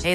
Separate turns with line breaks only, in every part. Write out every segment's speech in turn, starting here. Hey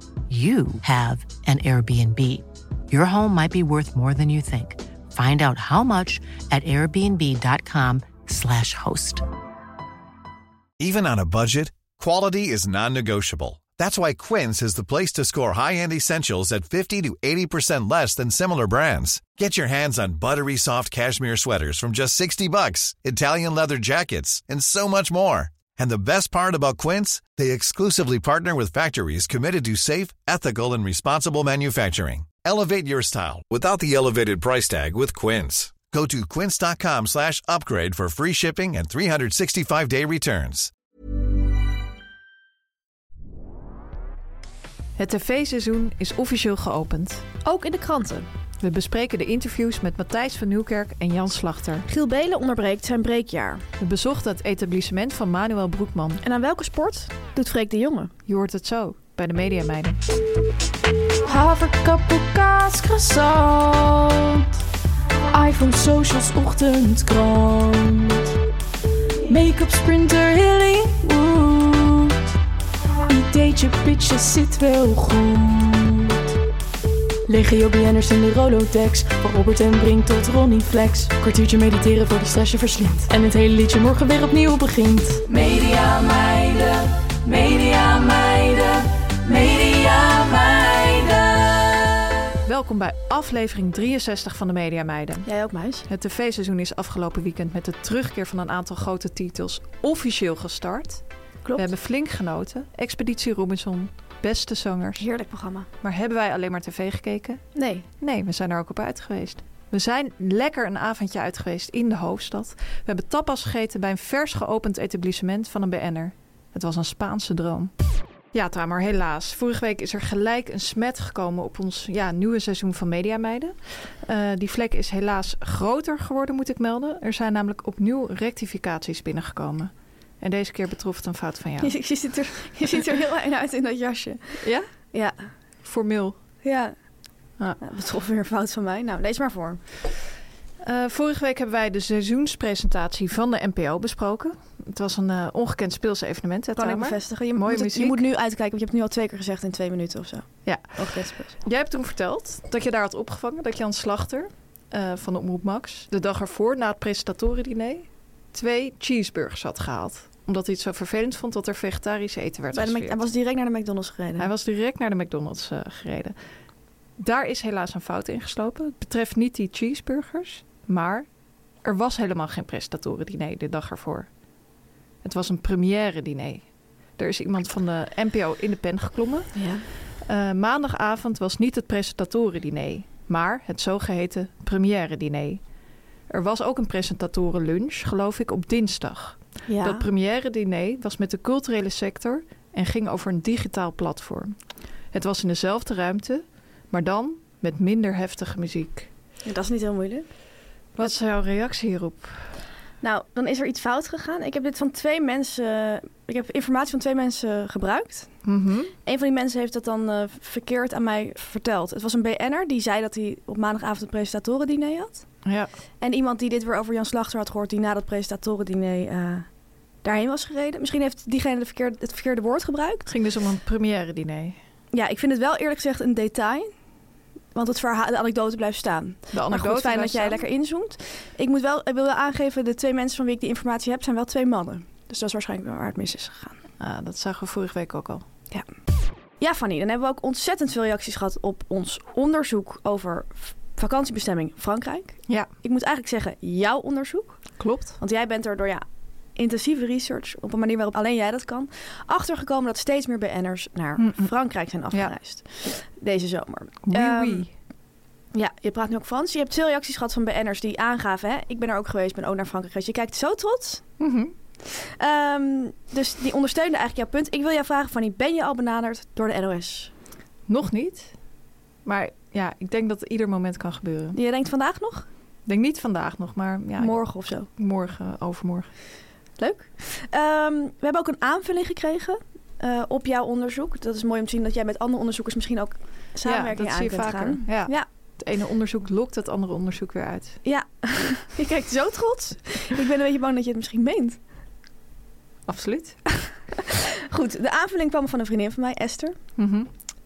you have an Airbnb. Your home might be worth more than you think. Find out how much at airbnb.com/slash host.
Even on a budget, quality is non-negotiable. That's why Quince is the place to score high-end essentials at 50 to 80% less than similar brands. Get your hands on buttery soft cashmere sweaters from just 60 bucks, Italian leather jackets, and so much more. And the best part about Quince, they exclusively partner with factories committed to safe, ethical, and responsible manufacturing. Elevate your style without the elevated price tag with Quince. Go to quince.com slash upgrade for free shipping and 365-day returns.
Het tv-seizoen is officieel geopend. Ook in de kranten. We bespreken de interviews met Matthijs van Nieuwkerk en Jan Slachter.
Giel Belen onderbreekt zijn breekjaar.
We bezochten het etablissement van Manuel Broekman.
En aan welke sport doet Freek de Jonge?
Je hoort het zo bij de Media Meiden.
Haverkappelkaas, croissant. iPhone, socials, ochtendkrant. Make-up, sprinter, Hollywood. Ideetje, pitje, zit wel goed. Legio BN'ers in de Rolodex. Van Robert en Brink tot Ronnie Flex. Kwartiertje mediteren voor die stress je verslindt. En het hele liedje morgen weer opnieuw begint. Media meiden, media meiden, media meiden.
Welkom bij aflevering 63 van de Media Meiden.
Jij ook, muis?
Het tv-seizoen is afgelopen weekend met de terugkeer van een aantal grote titels officieel gestart.
Klopt.
We hebben flink genoten. Expeditie Robinson, Beste Zangers.
Heerlijk programma.
Maar hebben wij alleen maar tv gekeken?
Nee,
Nee, we zijn er ook op uit geweest. We zijn lekker een avondje uit geweest in de hoofdstad. We hebben tapas gegeten bij een vers geopend etablissement van een BN'er. Het was een Spaanse droom. Ja, Tamer, helaas. Vorige week is er gelijk een smet gekomen op ons ja, nieuwe seizoen van Media Meiden. Eh, die vlek is helaas groter geworden, moet ik melden. Er zijn namelijk opnieuw rectificaties binnengekomen. En deze keer betrof het een fout van jou.
je, je ziet er, je ziet er heel fijn uit in dat jasje.
Ja?
Ja,
Formeel.
ja.
Ah.
Nou, betrof weer een fout van mij. Nou, lees maar voor.
Eh, vorige week hebben wij de seizoenspresentatie van de NPO besproken. Het was een eh, ongekend speels evenement. hè,
Kan ik
Tamer?
bevestigen. Je,
Mooie
moet, het-
muziek.
je moet nu uitkijken, want je hebt nu al twee keer gezegd in twee minuten of zo.
Ja.
Ook best best.
Jij hebt toen verteld dat je daar had opgevangen dat Jan Slachter eh, van de Omroep Max de dag ervoor na het presentatorendiner twee cheeseburgers had gehaald. Omdat hij het zo vervelend vond dat er vegetarisch eten werd
Bij de Mc-
geserveerd.
Hij was direct naar de McDonald's gereden.
Hij was direct naar de McDonald's eh, gereden. Daar is helaas een fout in geslopen. Het betreft niet die cheeseburgers, maar er was helemaal geen prestatorendiner de dag ervoor. Het was een première diner. Er is iemand van de NPO in de pen geklommen.
Ja.
Eh, maandagavond was niet het presentatorendiner, maar het zogeheten première diner. Er was ook een presentatorenlunch, geloof ik, op dinsdag.
ja.
Dat première diner was met de culturele sector en ging over een digitaal platform. Het was in dezelfde ruimte, maar dan met minder heftige muziek.
Ja, dat is niet heel moeilijk.
Wat is jouw reactie hierop?
Nou, dan is er iets fout gegaan. Ik heb dit van twee mensen... Ik heb informatie van twee mensen gebruikt.
Mhm.
Een van die mensen heeft dat dan eh, verkeerd aan mij verteld. Het was een BN'er die zei dat hij op maandagavond een presentatorendiner had.
Ja.
En iemand die dit weer over Jan Slachter had gehoord, die na dat presentatorendiner eh daarheen was gereden. Misschien heeft diegene de verkeerde, het verkeerde woord gebruikt.
Het ging dus om een première diner.
Ja, ik vind het wel eerlijk gezegd een detail. Want het verhaal, de anekdote blijft staan.
De
Maar
anekdote
goed, fijn dat
was
jij
dan-
lekker inzoomt. Ik, moet wel, ik wil wel aangeven, de twee mensen van wie ik die informatie heb, zijn wel twee mannen. Dus dat is waarschijnlijk wel waar het mis is gegaan.
Ah, dat zagen we vorige week ook al.
Ja, Fanny, dan hebben we ook ontzettend veel reacties gehad op ons onderzoek over v- vakantiebestemming Frankrijk.
Ja.
Ik moet eigenlijk zeggen, jouw onderzoek.
Klopt.
Want jij bent er door ja, intensieve research, op een manier waarop alleen jij dat kan, achtergekomen dat steeds meer BN'ers naar
Mm, mm.
Frankrijk zijn afgereisd. Deze zomer.
Oui,
Ehm,
oui.
Ja, je praat nu ook Frans. Je hebt veel reacties gehad van BN'ers die aangaven, hè? ik ben er ook geweest, ben ook naar Frankrijk geweest. Je kijkt zo trots.
Mhm.
Ehm, dus die ondersteunde eigenlijk jouw punt. Ik wil jou vragen, Fanny, ben je al benaderd door de NOS?
Nog niet, Maar ja, ik denk dat het ieder moment kan gebeuren.
Je denkt vandaag nog?
Ik denk niet vandaag nog, maar ja, ik-
Morgen of zo.
morgen, overmorgen.
Leuk. Ehm, we hebben ook een aanvulling gekregen eh, op jouw onderzoek. Dat is mooi om te zien dat jij met andere onderzoekers misschien ook samenwerking
ja, dat zie je
aan kunt
vaker.
gaan.
Ja.
Ja.
Het ene onderzoek lokt het andere onderzoek weer uit.
Ja, je kijkt zo trots. Ik ben een beetje bang dat je het misschien meent.
Absoluut.
Goed, de aanvulling kwam van een vriendin van mij, Esther.
Mhm.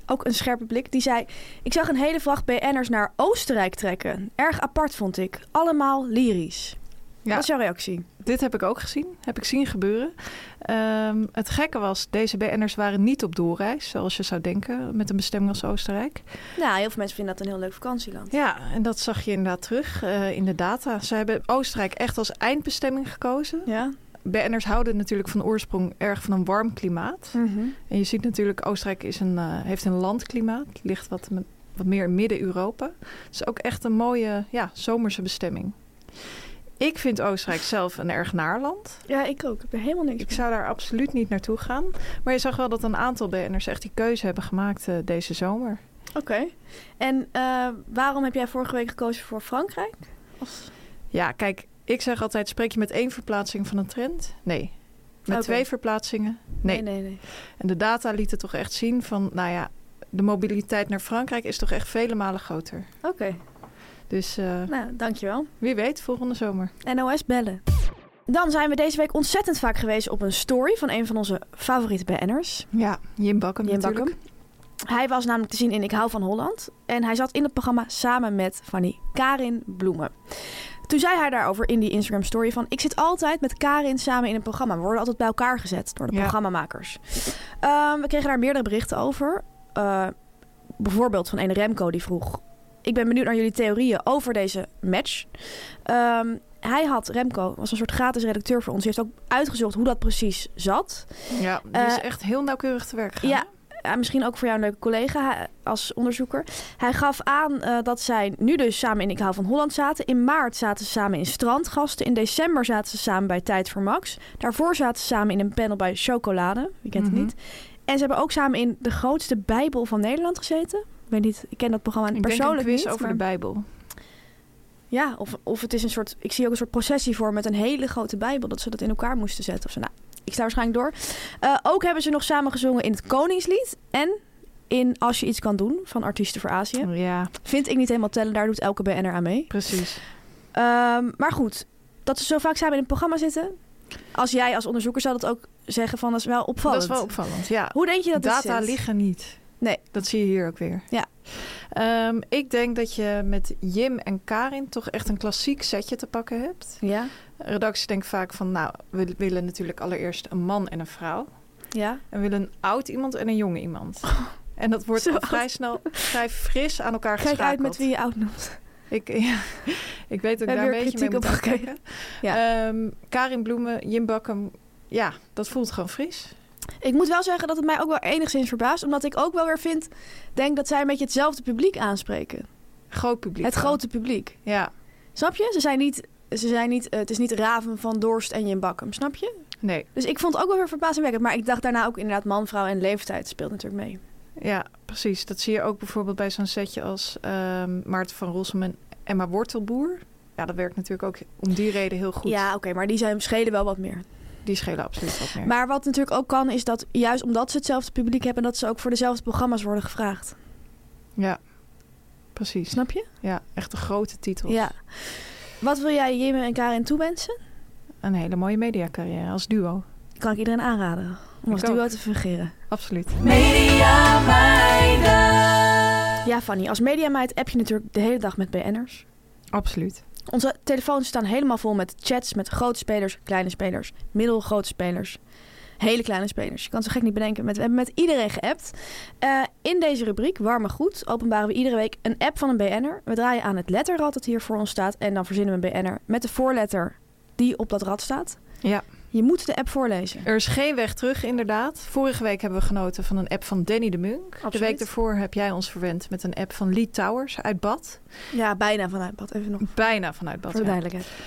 Ook een scherpe blik. Die zei, ik zag een hele vracht BN'ers naar Oostenrijk trekken. Erg apart vond ik. Allemaal lyrisch.
Ja.
Wat is jouw reactie?
Dit heb ik ook gezien, heb ik zien gebeuren. Ehm, het gekke was, deze BN'ers waren niet op doelreis, zoals je zou denken, met een bestemming als Oostenrijk.
Nou, heel veel mensen vinden dat een heel leuk vakantieland.
Ja, en dat zag je inderdaad terug eh, in de data. Ze hebben Oostenrijk echt als eindbestemming gekozen.
Ja.
BN'ers houden natuurlijk van oorsprong erg van een warm klimaat. En je ziet natuurlijk, Oostenrijk is een, eh, heeft een landklimaat. Het ligt wat, me- wat meer in Midden-Europa. Het is ook echt een mooie ja, zomerse bestemming. Ik vind Oostenrijk zelf een erg naar land.
Ja, ik ook. Ik heb er helemaal niks
Ik
mee.
zou daar absoluut niet naartoe gaan. Maar je zag wel dat een aantal BN'ers echt die keuze hebben gemaakt eh, deze zomer.
Oké. En eh, waarom heb jij vorige week gekozen voor Frankrijk? Als-
Ja, kijk, ik zeg altijd, spreek je met één verplaatsing van een trend? Nee. Met
Oké.
twee verplaatsingen? Nee.
nee, nee.
En de data lieten toch echt zien van, nou ja, de mobiliteit naar Frankrijk is toch echt vele malen groter.
Oké,
Dus eh,
nou, dankjewel.
wie weet, volgende zomer.
NOS bellen. Dan zijn we deze week ontzettend vaak geweest op een story van een van onze favoriete BN'ers.
Ja, Jim Bakkum
Jim
natuurlijk.
Hij was namelijk te zien in Ik hou van Holland. En hij zat in het programma samen met Fanny Karin Bloemen. Toen zei hij daarover in die Instagram story van... ik zit altijd met Karin samen in een programma. We worden altijd bij elkaar gezet door de
Ja.
programmamakers. Ehm, we kregen daar meerdere berichten over. Eh, bijvoorbeeld van een Remco die vroeg... ik ben benieuwd naar jullie theorieën over deze match. Ehm, hij had, Remco was een soort gratis redacteur voor ons... die heeft ook uitgezocht hoe dat precies zat...
Ja, die is
Eh,
echt heel nauwkeurig te werk gegaan.
Ja, eh, misschien ook voor jou een leuke collega hij- als onderzoeker. Hij gaf aan eh, dat zij nu dus samen in Ik hou van Holland zaten. In maart zaten ze samen in Strandgasten. In december zaten ze samen bij Tijd voor Max. Daarvoor zaten ze samen in een panel bij Chocolade. Wie kent
Mhm.
het niet? En ze hebben ook samen in de grootste Bijbel van Nederland gezeten. Ik weet niet, ik ken dat programma
Ik denk een
persoonlijk
quiz
niet.
over
maar-
de Bijbel.
ja, of, of het is een soort. Ik zie ook een soort processie voor met een hele grote Bijbel. Dat ze dat in elkaar moesten zetten. Of zo. Nou, ik sta waarschijnlijk door. Eh, ook hebben ze nog samen gezongen in het Koningslied. En in Als je iets kan doen van Artiesten voor Azië.
Ja,
Vind ik niet helemaal tellen, daar doet elke BN'er aan mee.
precies.
Ehm, maar goed, dat ze zo vaak samen in het programma zitten. Als jij als onderzoeker zou dat ook zeggen van dat is wel opvallend.
Dat is wel opvallend, ja.
Hoe denk je dat dit
Data
zit?
liggen niet.
Nee.
Dat zie je hier ook weer.
Ja.
Ehm, ik denk dat je met Jim en Karin toch echt een klassiek setje te pakken hebt.
Ja,
Redactie denkt vaak van, nou, we willen natuurlijk allereerst een man en een vrouw.
ja.
En we willen een oud iemand en een jong iemand. En dat wordt
Zo.
al vrij snel, vrij fris aan elkaar
Kijk uit
geschakeld.
met wie je oud noemt.
Ik, ja, ik weet dat
We
ik daar
hebben
een beetje
weer
mee
kritiek
moet
op gekregen.
kijken. Karin Bloemen, Jim Bakkum, ja, dat voelt gewoon fris.
Ik moet wel zeggen dat het mij ook wel enigszins verbaast. Omdat ik ook wel weer vind, denk dat zij een beetje hetzelfde publiek aanspreken.
Groot publiek.
Het
dan.
grote publiek.
Ja,
Snap je? Ze zijn niet, ze zijn niet, eh, het is niet Raven van Dorst en Jim Bakkum. Snap je?
nee.
Dus ik vond het ook wel weer verbazingwekkend. Maar ik dacht daarna ook inderdaad man, vrouw en leeftijd speelt natuurlijk mee.
Ja, precies. Dat zie je ook bijvoorbeeld bij zo'n setje als ehm, Maarten van Rossum en Emma Wortelboer. Ja, dat werkt natuurlijk ook om die reden heel goed.
Ja, oké, maar die zijn, schelen wel wat meer.
Die schelen absoluut wat meer.
Maar wat natuurlijk ook kan, is dat juist omdat ze hetzelfde publiek hebben... dat ze ook voor dezelfde programma's worden gevraagd.
Ja, precies.
Snap je?
Ja, echt een grote titel.
Ja. Wat wil jij Jim en Karin toewensen?
Een hele mooie mediacarrière als duo.
Kan ik iedereen aanraden om als
Ik ook.
duo te fungeren.
Absoluut.
Media meiden.
Ja, Fanny, als mediameid app je natuurlijk de hele dag met BN'ers.
Absoluut.
Onze telefoons staan helemaal vol met chats met grote spelers, kleine spelers, middelgrote spelers, hele kleine spelers. Je kan het zo gek niet bedenken. Met, we hebben met iedereen geappt. Eh, in deze rubriek, Warme Goed, openbaren we iedere week een app van een BN'er. We draaien aan het letterrad dat hier voor ons staat en dan verzinnen we een BN'er met de voorletter die op dat rad staat.
Ja.
Je moet de app voorlezen.
Er is geen weg terug, inderdaad. Vorige week hebben we genoten van een app van Danny de Munk. De
Absoluut.
week daarvoor heb jij ons verwend met een app van Lee Towers uit Bad.
Ja, bijna vanuit bad. Even nog
Bijna vanuit Bad.
voor de
ja.
duidelijkheid.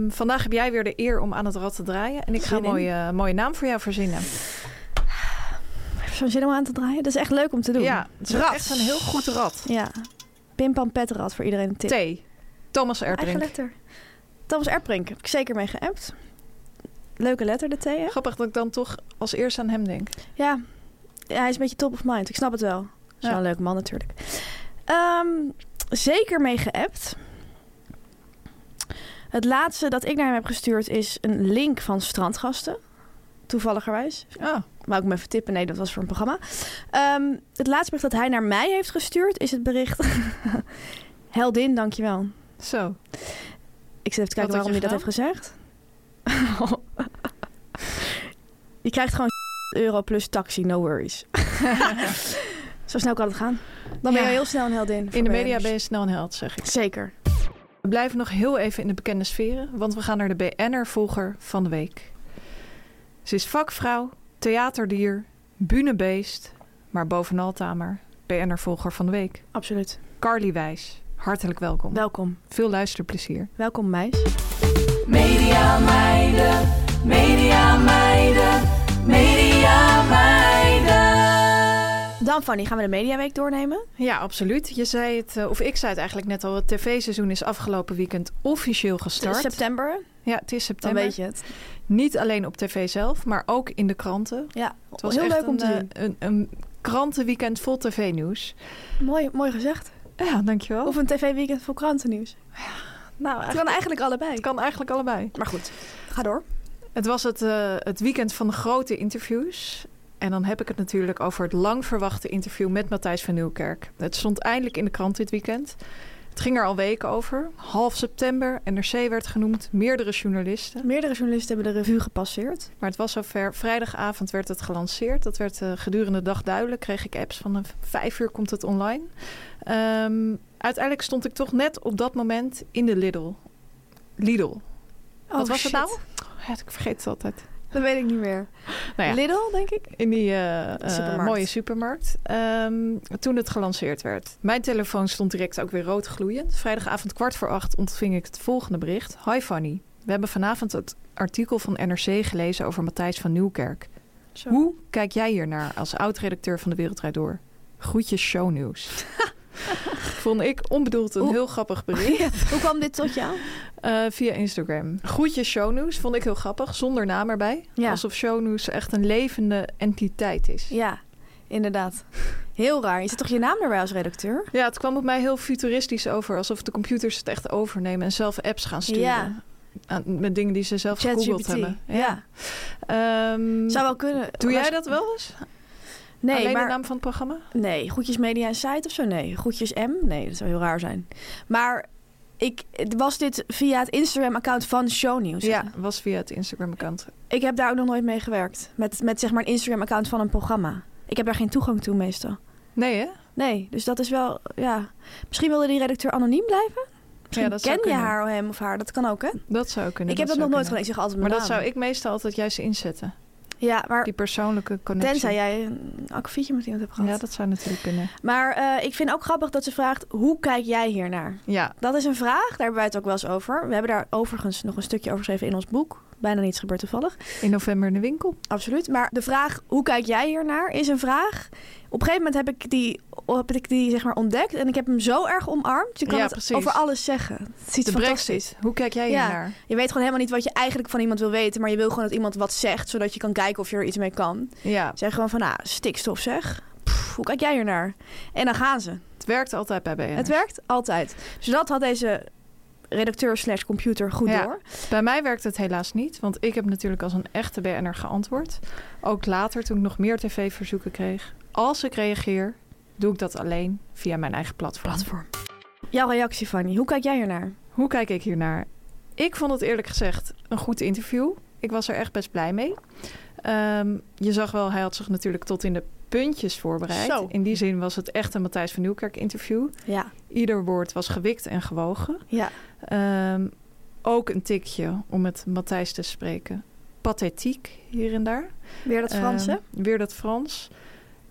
Ehm, vandaag heb jij weer de eer om aan het rad te draaien. En ik ga eh,
Zin
een
in.
mooie, mooie naam voor jou verzinnen.
zo'n zin om aan te draaien. Dat is echt leuk om te doen.
Ja, het is
Rad.
echt een heel goed rad.
Ja. Pim Pam Petterad voor iedereen een tip.
T. Thomas
Eigen
Erdrink.
letter. Thomas Erprink heb ik zeker mee geappt. Leuke letter, de T. hè?
Grappig dat ik dan toch als eerst aan hem denk.
Ja. ja, hij is een beetje top of mind. Ik snap het wel. Zo'n
Ja.
leuke man natuurlijk. Ehm, zeker mee geappt. Het laatste dat ik naar hem heb gestuurd is een link van Strandgasten. Toevalligerwijs.
Ah,
Wou ik hem even tippen? Nee, dat was voor een programma. Ehm, het laatste bericht dat hij naar mij heeft gestuurd is het bericht... Heldin, dankjewel.
zo.
Ik zit even te
Wat
kijken waarom hij
had
dat
je
heeft gezegd. je krijgt gewoon euro plus taxi, no worries. Zo snel kan het gaan. Dan ben
Ja.
je heel snel een heldin. voor
In de media
BN'ers.
ben je snel een held, zeg ik.
Zeker.
We blijven nog heel even in de bekende sferen, want we gaan naar de BN'er-volger van de week. Ze is vakvrouw, theaterdier, bühnebeest, maar bovenal tamer, BN'er-volger van de week.
Absoluut.
Carly Wijs, hartelijk welkom.
Welkom.
Veel luisterplezier.
Welkom, meis.
Media meiden, media meiden, media meiden.
Dan, Fanny, gaan we de mediaweek doornemen?
Ja, absoluut. Je zei het, eh, of ik zei het eigenlijk net al, het tv-seizoen is afgelopen weekend officieel
Het
gestart.
is september, hè?
Ja, het is
dan
september.
weet je het.
Niet alleen op tv zelf, maar ook in de kranten.
Ja,
Het was
heel
echt
leuk om
een,
te
eh,
doen.
Een, een krantenweekend vol tv-nieuws.
Mooi, mooi gezegd.
Ja, dankjewel.
Of een tv-weekend voor krantennieuws.
nou,
Het kan eigenlijk allebei.
Het kan eigenlijk allebei.
Maar goed, ga door.
Het was het, eh, het weekend van de grote interviews. En dan heb ik het natuurlijk over het lang verwachte interview met Matthijs van Nieuwkerk. Het stond eindelijk in de krant dit weekend. Het ging er al weken over. Half september, NRC werd genoemd, meerdere journalisten.
Meerdere journalisten hebben de revue gepasseerd.
Maar het was zover. Vrijdagavond werd het gelanceerd. Dat werd eh, gedurende de dag duidelijk. Kreeg ik apps van eh, vijf uur komt het online. Ehm, uiteindelijk stond ik toch net op dat moment in de Lidl. Lidl. Wat was
Oh, shit.
het nou? Ja, ik vergeet het altijd.
Dat weet ik niet meer.
Nou ja.
Lidl, denk ik.
In die eh, eh,
Supermarkt.
mooie supermarkt. Ehm, toen het gelanceerd werd. Mijn telefoon stond direct ook weer rood gloeiend. Vrijdagavond kwart voor acht ontving ik het volgende bericht. Hi Fanny, we hebben vanavond het artikel van NRC gelezen over Matthijs van Nieuwkerk.
Zo.
Hoe kijk jij hiernaar als oud-redacteur van De Wereld Draait Door? Groetjes shownieuws. Vond ik onbedoeld een
Oeh.
heel grappig bericht.
Hoe kwam dit tot jou?
Eh, via Instagram. Groetjes shownieuws vond ik heel grappig, zonder naam erbij.
Ja.
Alsof shownieuws echt een levende entiteit is.
Ja, inderdaad. Heel raar. Je zit toch je naam erbij als redacteur?
Ja, het kwam op mij heel futuristisch over. Alsof de computers het echt overnemen en zelf apps gaan sturen.
Ja.
Aan- met dingen die ze zelf gegoogeld
ChatGPT.
hebben.
Ja.
Ehm,
zou wel kunnen.
Doe jij
Was-
dat wel eens?
Nee,
Alleen de
maar,
naam van het programma?
nee. Goedjes Media en Site of zo? Nee. Goedjes M? Nee, dat zou heel raar zijn. Maar ik, het was dit via het Instagram-account van Shownieuws?
Ja, was via het Instagram-account.
Ik heb daar ook nog nooit mee gewerkt. Met, met zeg maar een Instagram-account van een programma. Ik heb daar geen toegang toe meestal.
Nee, hè?
Nee, dus dat is wel, ja. Misschien wilde die redacteur anoniem blijven? Misschien
ja, dat zou
ken je
kunnen.
haar, hem of haar. Dat kan ook, hè?
Dat zou kunnen.
ik heb dat
zou
nog nooit
kunnen.
gedaan. Ik zeg altijd
Maar
mijn
dat
naam.
zou ik meestal altijd juist inzetten.
Ja, maar
Die persoonlijke connectie.
Tenzij jij een akkefietje met iemand hebt gehad.
Ja, dat zou natuurlijk kunnen.
Maar eh, ik vind ook grappig dat ze vraagt: hoe kijk jij hiernaar?
Ja,
Dat is een vraag, daar hebben wij het ook wel eens over. We hebben daar overigens nog een stukje over geschreven in ons boek. Bijna niets gebeurt toevallig.
in november in de winkel.
Absoluut. Maar de vraag: hoe kijk jij hiernaar? is een vraag. Op een gegeven moment heb ik die, heb ik die zeg maar ontdekt en ik heb hem zo erg omarmd. Je kan
Ja,
het
precies.
over alles zeggen. Het is iets
De
fantastisch.
brexit. Hoe kijk jij
Ja.
hiernaar?
Je weet gewoon helemaal niet wat je eigenlijk van iemand wil weten, maar je wil gewoon dat iemand wat zegt, zodat je kan kijken of je er iets mee kan.
Ja,
Zeg gewoon van, nou, stikstof zeg. Pff, hoe kijk jij hiernaar? En dan gaan ze.
het werkt altijd bij BN'ers.
Het werkt altijd. Dus dat had deze redacteur slash computer goed
Ja.
door.
Bij mij werkt het helaas niet, want ik heb natuurlijk als een echte BN'er geantwoord. Ook later, toen ik nog meer tv-verzoeken kreeg. Als ik reageer, doe ik dat alleen via mijn eigen platform.
Jouw reactie, Fanny. Hoe kijk jij hiernaar?
Hoe kijk ik hiernaar? Ik vond het eerlijk gezegd een goed interview. Ik was er echt best blij mee. Ehm, je zag wel, hij had zich natuurlijk tot in de puntjes voorbereid.
Zo.
In die zin was het echt een Matthijs van Nieuwkerk interview.
Ja,
Ieder woord was gewikt en gewogen.
ja.
Ehm, ook een tikje om met Matthijs te spreken. Pathetiek hier en daar.
Weer dat Franse.
Ehm, weer dat Frans.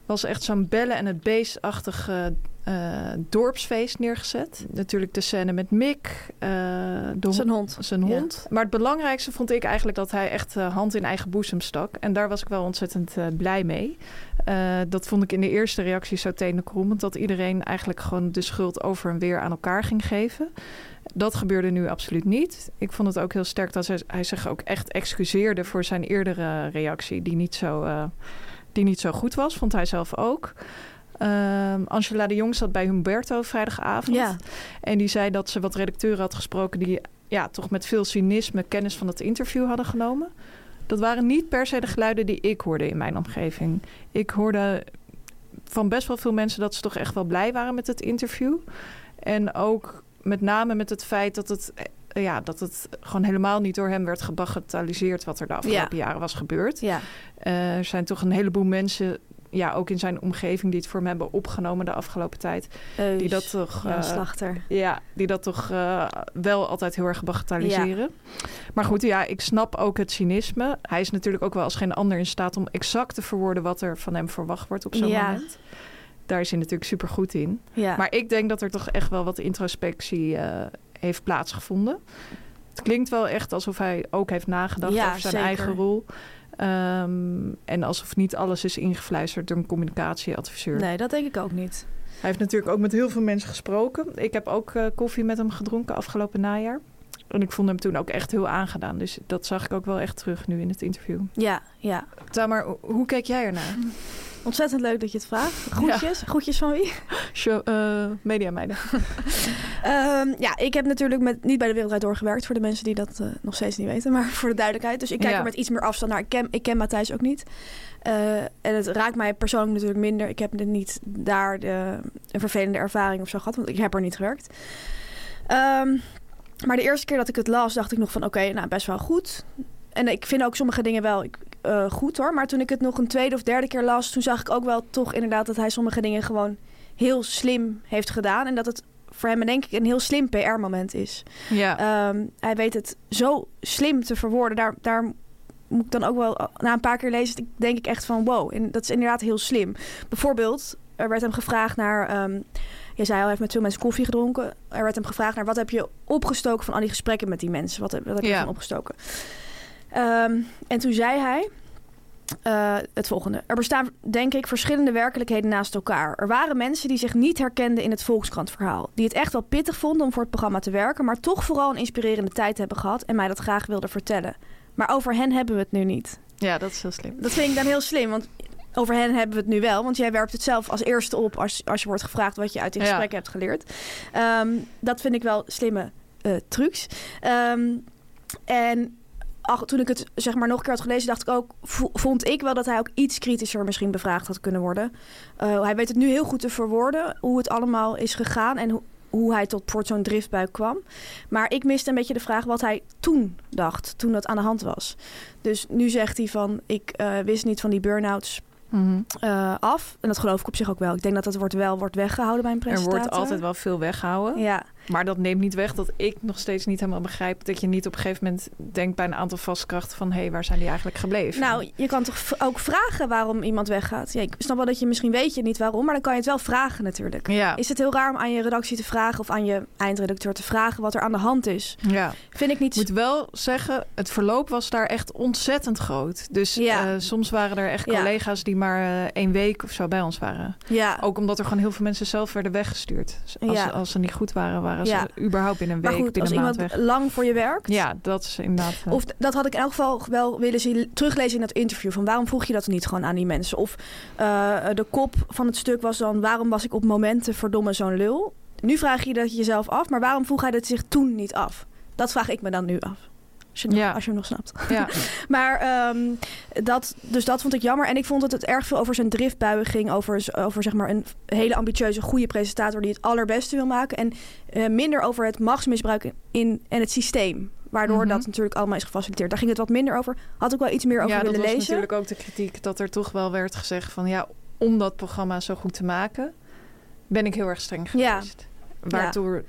was echt zo'n bellen en het beestachtig eh, eh, dorpsfeest neergezet. Natuurlijk de scène met Mick, eh, de
Zijn hond.
zijn
Ja.
hond. Maar het belangrijkste vond ik eigenlijk dat hij echt eh, hand in eigen boezem stak. En daar was ik wel ontzettend eh, blij mee. Eh, dat vond ik in de eerste reactie zo tenenkrommend. Dat iedereen eigenlijk gewoon de schuld over en weer aan elkaar ging geven. Dat gebeurde nu absoluut niet. Ik vond het ook heel sterk dat hij, hij zich ook echt excuseerde voor zijn eerdere reactie. Die niet zo, eh, die niet zo goed was, vond hij zelf ook. Ehm, Angela de Jong zat bij Humberto vrijdagavond.
Ja.
En die zei dat ze wat redacteuren had gesproken die ja, toch met veel cynisme kennis van dat interview hadden genomen. Dat waren niet per se de geluiden die ik hoorde in mijn omgeving. Ik hoorde van best wel veel mensen dat ze toch echt wel blij waren met het interview. En ook met name met het feit dat het, eh, ja, dat het gewoon helemaal niet door hem werd gebagatelliseerd wat er de afgelopen jaren was gebeurd.
Ja.
Eh, er zijn toch een heleboel mensen, ja, ook in zijn omgeving, die het voor hem hebben opgenomen de afgelopen tijd. Die dat toch.
Dus Ja,
eh,
slachter.
ja, die dat toch eh, wel altijd heel erg bagatelliseren. Maar goed, ja, ik snap ook het cynisme. Hij is natuurlijk ook wel als geen ander in staat om exact te verwoorden wat er van hem verwacht wordt op zo'n
Ja.
moment. Daar is hij natuurlijk super goed in.
Ja.
Maar ik denk dat er toch echt wel wat introspectie eh, heeft plaatsgevonden. Het klinkt wel echt alsof hij ook heeft nagedacht
Ja,
over zijn
zeker.
eigen rol. Ehm, en alsof niet alles is ingefluisterd door een communicatieadviseur.
Nee, dat denk ik ook niet.
Hij heeft natuurlijk ook met heel veel mensen gesproken. Ik heb ook eh, koffie met hem gedronken afgelopen najaar. En ik vond hem toen ook echt heel aangedaan. Dus dat zag ik ook wel echt terug nu in het interview.
Ja, ja.
Tamar, ho- hoe kijk jij ernaar?
Ontzettend leuk dat je het vraagt. Groetjes. Groetjes van wie?
Show, eh, media meiden.
Ehm, ja, ik heb natuurlijk met, niet bij de Wereldwijd doorgewerkt. Voor de mensen die dat eh, nog steeds niet weten. Maar voor de duidelijkheid. Dus ik kijk
Ja.
er met iets meer afstand naar. Ik ken, ik ken Matthijs ook niet. Eh, en het raakt mij persoonlijk natuurlijk minder. Ik heb er niet daar de, een vervelende ervaring of zo gehad. Want ik heb er niet gewerkt. Ehm, maar de eerste keer dat ik het las, dacht ik nog van... Oké, nou best wel goed. En ik vind ook sommige dingen wel ik- eh, goed hoor. Maar toen ik het nog een tweede of derde keer las... toen zag ik ook wel toch inderdaad dat hij sommige dingen gewoon heel slim heeft gedaan. En dat het voor hem denk ik een heel slim PR-moment is.
Ja.
Ehm, hij weet het zo slim te verwoorden. Daar, daar moet ik dan ook wel na een paar keer lezen, denk ik echt van wow. En dat is inderdaad heel slim. Bijvoorbeeld, er werd hem gevraagd naar... ehm je zei al, hij heeft met veel mensen koffie gedronken. Er werd hem gevraagd naar wat heb je opgestoken van al die gesprekken met die mensen? Wat heb, wat heb je
Ja.
van opgestoken? Ehm, en toen zei hij... eh, het volgende. Er bestaan, denk ik, verschillende werkelijkheden naast elkaar. Er waren mensen die zich niet herkenden in het Volkskrant-verhaal. Die het echt wel pittig vonden om voor het programma te werken, maar toch vooral een inspirerende tijd hebben gehad en mij dat graag wilden vertellen. Maar over hen hebben we het nu niet.
ja, dat is heel slim.
Dat vind ik dan heel slim, want over hen hebben we het nu wel. Want jij werpt het zelf als eerste op als, als je wordt gevraagd wat je uit die
Ja.
gesprekken hebt geleerd. Ehm, dat vind ik wel slimme eh, trucs. Ehm, en ach, toen ik het zeg maar nog een keer had gelezen, dacht ik ook, vo- vond ik wel dat hij ook iets kritischer misschien bevraagd had kunnen worden. Eh, hij weet het nu heel goed te verwoorden, hoe het allemaal is gegaan en hoe, hoe hij tot voor zo'n driftbuik kwam. Maar ik miste een beetje de vraag wat hij toen dacht, toen dat aan de hand was. Dus nu zegt hij van, ik eh, wist niet van die burn-outs
Mhm.
eh, af. En dat geloof ik op zich ook wel. Ik denk dat dat woord wel wordt weggehouden bij een
Er
presentator.
wordt altijd wel veel weggehouden.
Ja,
Maar dat neemt niet weg dat ik nog steeds niet helemaal begrijp... dat je niet op een gegeven moment denkt bij een aantal vastkrachten van... hé, hey, waar zijn die eigenlijk gebleven?
nou, je kan toch v- ook vragen waarom iemand weggaat. Ja, ik snap wel dat je misschien weet je niet waarom, maar dan kan je het wel vragen natuurlijk.
ja.
Is het heel raar om aan je redactie te vragen of aan je eindredacteur te vragen wat er aan de hand is?
ja.
Vind ik niet.
Ik moet wel zeggen, het verloop was daar echt ontzettend groot. Dus
Ja.
eh, soms waren er echt
Ja.
collega's die maar eh, één week of zo bij ons waren.
Ja.
Ook omdat er gewoon heel veel mensen zelf werden weggestuurd. Dus Als,
Ja.
als ze niet goed waren, waren ze
Ja.
überhaupt binnen een
maar
week,
goed, als
binnen een
iemand
maand weg.
lang voor je werkt.
Ja, dat is inderdaad... eh,
Of d- dat had ik in elk geval wel willen zien, teruglezen in dat interview. Van waarom vroeg je dat niet gewoon aan die mensen? Of eh, de kop van het stuk was dan: waarom was ik op momenten verdomme zo'n lul? Nu vraag je dat jezelf af, maar waarom vroeg hij dat zich toen niet af? Dat vraag ik me dan nu af. Als je, nog-
Ja.
als je hem nog snapt.
ja.
Maar ehm, dat, dus dat vond ik jammer. En ik vond dat het erg veel over zijn driftbuien ging. Over, z- over zeg maar een hele ambitieuze, goede presentator die het allerbeste wil maken. En eh, minder over het machtsmisbruik in, en het systeem. Waardoor
Mhm.
dat natuurlijk allemaal is gefaciliteerd. Daar ging het wat minder over. Had ik wel iets meer over
ja, dat
willen
was
lezen.
natuurlijk ook de kritiek dat er toch wel werd gezegd van... ja, om dat programma zo goed te maken, ben ik heel erg streng
Ja.
geweest. Waardoor,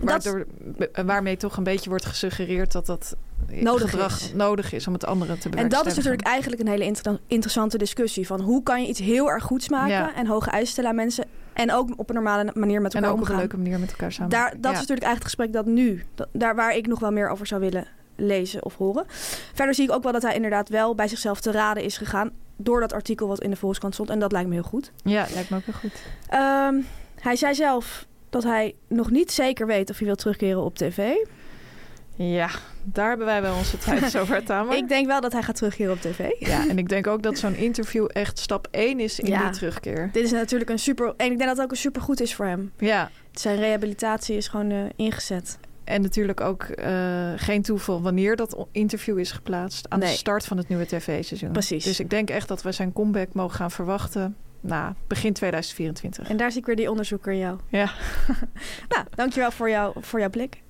waardoor, be- eh, waarmee toch een beetje wordt gesuggereerd dat dat eh,
Nodig
gedrag
is.
nodig is om het andere te
En
bewerkstelligen.
dat is natuurlijk eigenlijk een hele inter- interessante discussie. Van hoe kan je iets heel erg goeds maken
Ja.
en hoge eisen stellen aan mensen. En ook op een normale manier met
En
elkaar
ook op een
omgaan.
leuke manier met elkaar samen.
Daar, dat
Ja.
is natuurlijk eigenlijk het gesprek dat nu, dat- daar waar ik nog wel meer over zou willen lezen of horen. Verder zie ik ook wel dat hij inderdaad wel bij zichzelf te raden is gegaan door dat artikel wat in de Volkskrant stond. En dat lijkt me heel goed.
Ja, lijkt me ook heel goed.
Ehm, hij zei zelf dat hij nog niet zeker weet of hij wil terugkeren op tv.
Ja, daar hebben wij wel onze tijd over, Tamer.
Ik denk wel dat hij gaat terugkeren op tv.
Ja, en ik denk ook dat zo'n interview echt stap 1 is in
Ja.
die terugkeer.
Dit is natuurlijk een super... En ik denk dat het ook een super goed is voor hem.
Ja,
Zijn rehabilitatie is gewoon eh, ingezet.
en natuurlijk ook eh, geen toeval wanneer dat o- interview is geplaatst. Aan de
Nee.
start van het nieuwe tv-seizoen.
Precies.
Dus ik denk echt dat we zijn comeback mogen gaan verwachten. Nou, begin 2024.
En daar zie ik weer die onderzoeker in jou.
Ja.
Nou, dankjewel voor, jou, voor jouw blik.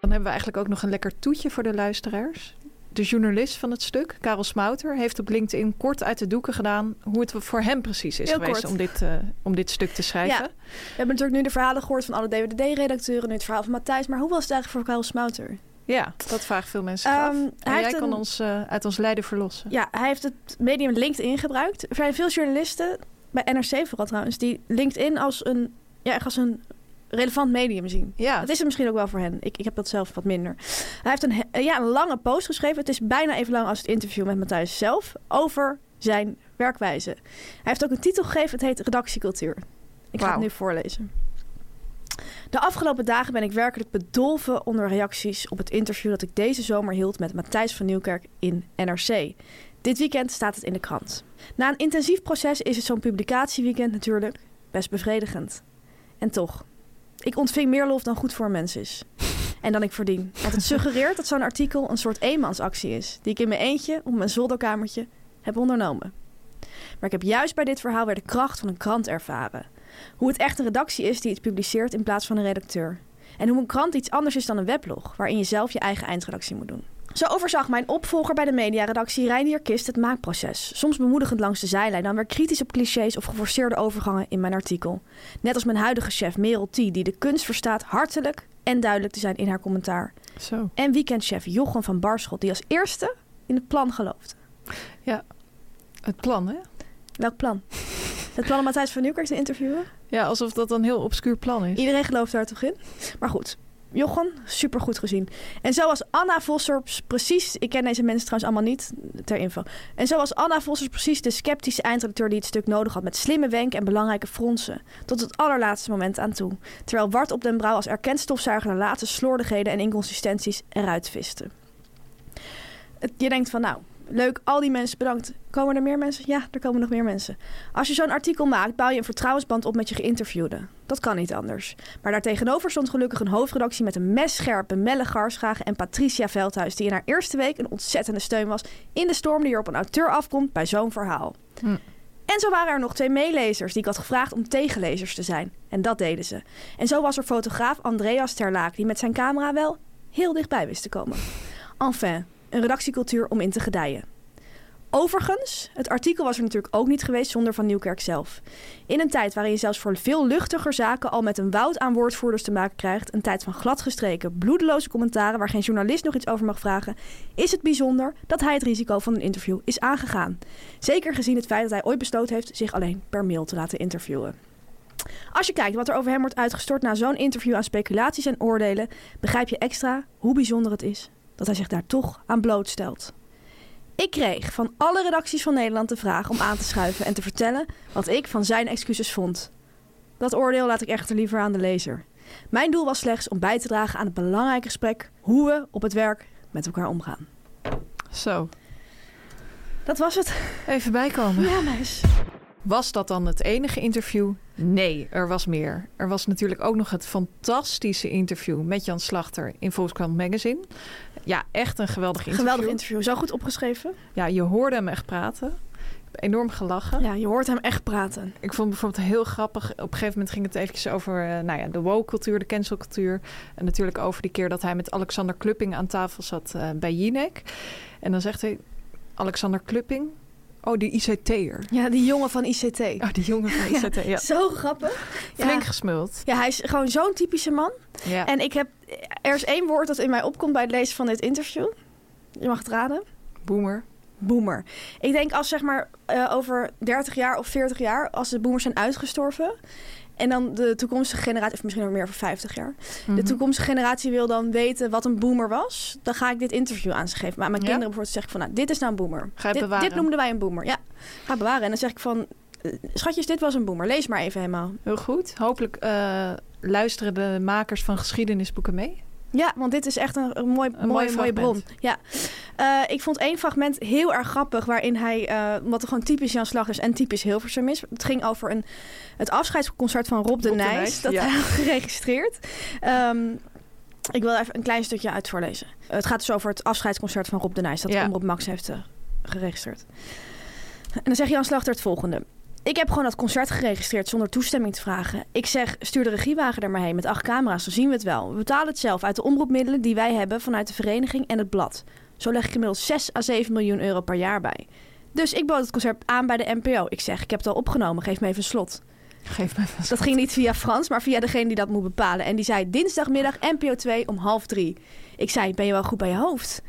Dan hebben we eigenlijk ook nog een lekker toetje voor de luisteraars. De journalist van het stuk, Karel Smouter, heeft op LinkedIn kort uit de doeken gedaan hoe het voor hem precies is
Heel
geweest
kort.
om dit, eh, om dit stuk te schrijven.
We hebben natuurlijk nu de verhalen gehoord van alle DWD-redacteuren. Nu het verhaal van Matthijs. Maar hoe was het eigenlijk voor Karel Smouter?
Ja, dat vragen veel mensen
Ehm,
zich af. En
hij heeft
jij kan
een-
ons eh, uit ons lijden verlossen.
Ja, hij heeft het medium LinkedIn gebruikt. Er zijn veel journalisten, bij NRC vooral trouwens, die LinkedIn als een, ja, echt als een relevant medium zien.
Ja,
Dat is er misschien ook wel voor hen. Ik, ik heb dat zelf wat minder. Hij heeft een, he- ja, een lange post geschreven. Het is bijna even lang als het interview met Matthijs zelf over zijn werkwijze. Hij heeft ook een titel gegeven. Het heet Redactiecultuur. Ik ga
Wauw.
het nu voorlezen. De afgelopen dagen ben ik werkelijk bedolven onder reacties op het interview dat ik deze zomer hield met Matthijs van Nieuwkerk in NRC. Dit weekend staat het in de krant. Na een intensief proces is het zo'n publicatieweekend natuurlijk best bevredigend. En toch, ik ontving meer lof dan goed voor een mens is. En dan ik verdien. Want het suggereert dat zo'n artikel een soort eenmansactie is, die ik in mijn eentje op mijn zolderkamertje heb ondernomen. Maar ik heb juist bij dit verhaal weer de kracht van een krant ervaren. Hoe het echt een redactie is die iets publiceert in plaats van een redacteur. En hoe een krant iets anders is dan een weblog, waarin je zelf je eigen eindredactie moet doen. Zo overzag mijn opvolger bij de mediaredactie Reinier Kist het maakproces. Soms bemoedigend langs de zijlijn, dan weer kritisch op clichés of geforceerde overgangen in mijn artikel. Net als mijn huidige chef Merel T, die de kunst verstaat hartelijk en duidelijk te zijn in haar commentaar.
zo.
En weekendchef Jochem van Barschot, die als eerste in het plan geloofde.
Het plan, hè?
Welk plan? Het plan om Matthijs van Nieuwkerk te interviewen?
Ja, alsof dat een heel obscuur plan is.
Iedereen gelooft daar toch in? Maar goed, Jochem, supergoed gezien. En zoals Anna Vossers precies... Ik ken deze mensen trouwens allemaal niet, ter info. En zoals Anna Vossers precies de sceptische eindredacteur die het stuk nodig had... met slimme wenken en belangrijke fronsen. Tot het allerlaatste moment aan toe. Terwijl Wart op den Brouw als erkentstofzuiger... de laatste slordigheden en inconsistenties eruit viste. Het- Je denkt van nou... Leuk, al die mensen bedankt. Komen er meer mensen? Ja, er komen nog meer mensen. Als je zo'n artikel maakt, bouw je een vertrouwensband op met je geïnterviewde. Dat kan niet anders. Maar daartegenover stond gelukkig een hoofdredactie met een messcherpe Melle Garsgragen en Patricia Veldhuis, die in haar eerste week een ontzettende steun was in de storm die er op een auteur afkomt bij zo'n verhaal.
Hm.
En zo waren er nog twee meelezers die ik had gevraagd om tegenlezers te zijn. En dat deden ze. En zo was er fotograaf Andreas Terlaak, die met zijn camera wel heel dichtbij wist te komen. Enfin, een redactiecultuur om in te gedijen. Overigens, het artikel was er natuurlijk ook niet geweest zonder Van Nieuwkerk zelf. In een tijd waarin je zelfs voor veel luchtiger zaken al met een woud aan woordvoerders te maken krijgt, een tijd van gladgestreken, bloedeloze commentaren waar geen journalist nog iets over mag vragen, is het bijzonder dat hij het risico van een interview is aangegaan. Zeker gezien het feit dat hij ooit besloten heeft zich alleen per mail te laten interviewen. Als je kijkt wat er over hem wordt uitgestort na zo'n interview aan speculaties en oordelen, begrijp je extra hoe bijzonder het is dat hij zich daar toch aan blootstelt. Ik kreeg van alle redacties van Nederland de vraag om aan te schuiven en te vertellen wat ik van zijn excuses vond. Dat oordeel laat ik echter liever aan de lezer. Mijn doel was slechts om bij te dragen aan het belangrijke gesprek hoe we op het werk met elkaar omgaan.
Zo.
Dat was het.
Even bijkomen.
Ja, meis.
Was dat dan het enige interview? Nee, er was meer. Er was natuurlijk ook nog het fantastische interview met Jan Slachter in Volkskrant Magazine. Ja, echt een geweldig interview.
Geweldig interview. Zo goed opgeschreven.
Ja, je hoorde hem echt praten. Ik heb enorm gelachen.
Ja, je hoort hem echt praten.
Ik vond het bijvoorbeeld heel grappig. Op een gegeven moment ging het eventjes over eh, nou ja, de woke-cultuur, de cancelcultuur. En natuurlijk over die keer dat hij met Alexander Klupping aan tafel zat eh, bij Jinek. En dan zegt hij, Alexander Klupping, Oh, die ICT'er.
Ja, die jongen van ICT.
Oh, die jongen van ICT, ja.
Zo grappig.
Flink
Ja.
gesmuld.
ja, hij is gewoon zo'n typische man.
Ja.
En ik heb, er is één woord dat in mij opkomt bij het lezen van dit interview. Je mag het raden.
Boomer.
Boomer. Ik denk als zeg maar eh, over 30 jaar of 40 jaar, als de boomers zijn uitgestorven. En dan de toekomstige generatie, of misschien nog meer voor 50 jaar.
Mhm.
De toekomstige generatie wil dan weten wat een boomer was. Dan ga ik dit interview aan ze geven. Maar aan mijn
Ja?
kinderen bijvoorbeeld zeg ik van, nou, dit is nou een boomer.
Ga je
dit,
bewaren?
dit noemden wij een boomer. Ja, ga bewaren. En dan zeg ik van, eh, schatjes, dit was een boomer. Lees maar even helemaal.
Heel goed. Hopelijk eh, luisteren de makers van geschiedenisboeken mee.
Ja, want dit is echt een, een mooi,
Een mooi
mooie, mooie bron.
fragment.
Ja. Eh, ik vond één fragment heel erg grappig, waarin hij, eh wat er gewoon typisch Jan Slagers en typisch Hilversum is. Het ging over een, het afscheidsconcert van Rob de,
Rob de
Nijs,
Nijs,
dat
ja.
hij had geregistreerd. Ehm, ik wil even een klein stukje uit voorlezen. Het gaat dus over het afscheidsconcert van Rob de Nijs, dat
Ja.
Omroep Max heeft eh, geregistreerd. En dan zegt Jan Slachter het volgende. Ik heb gewoon dat concert geregistreerd zonder toestemming te vragen. Ik zeg, stuur de regiewagen er maar heen met acht camera's, dan zien we het wel. We betalen het zelf uit de omroepmiddelen die wij hebben vanuit de vereniging en het blad. Zo leg ik inmiddels 6 à 7 miljoen euro per jaar bij. Dus ik bood het concert aan bij de NPO. Ik zeg, ik heb het al opgenomen, geef me even een slot.
Geef mij
Dat ging niet via Frans, maar via degene die dat moet bepalen. En die zei dinsdagmiddag NPO 2 om half drie. Ik zei, ben je wel goed bij je hoofd?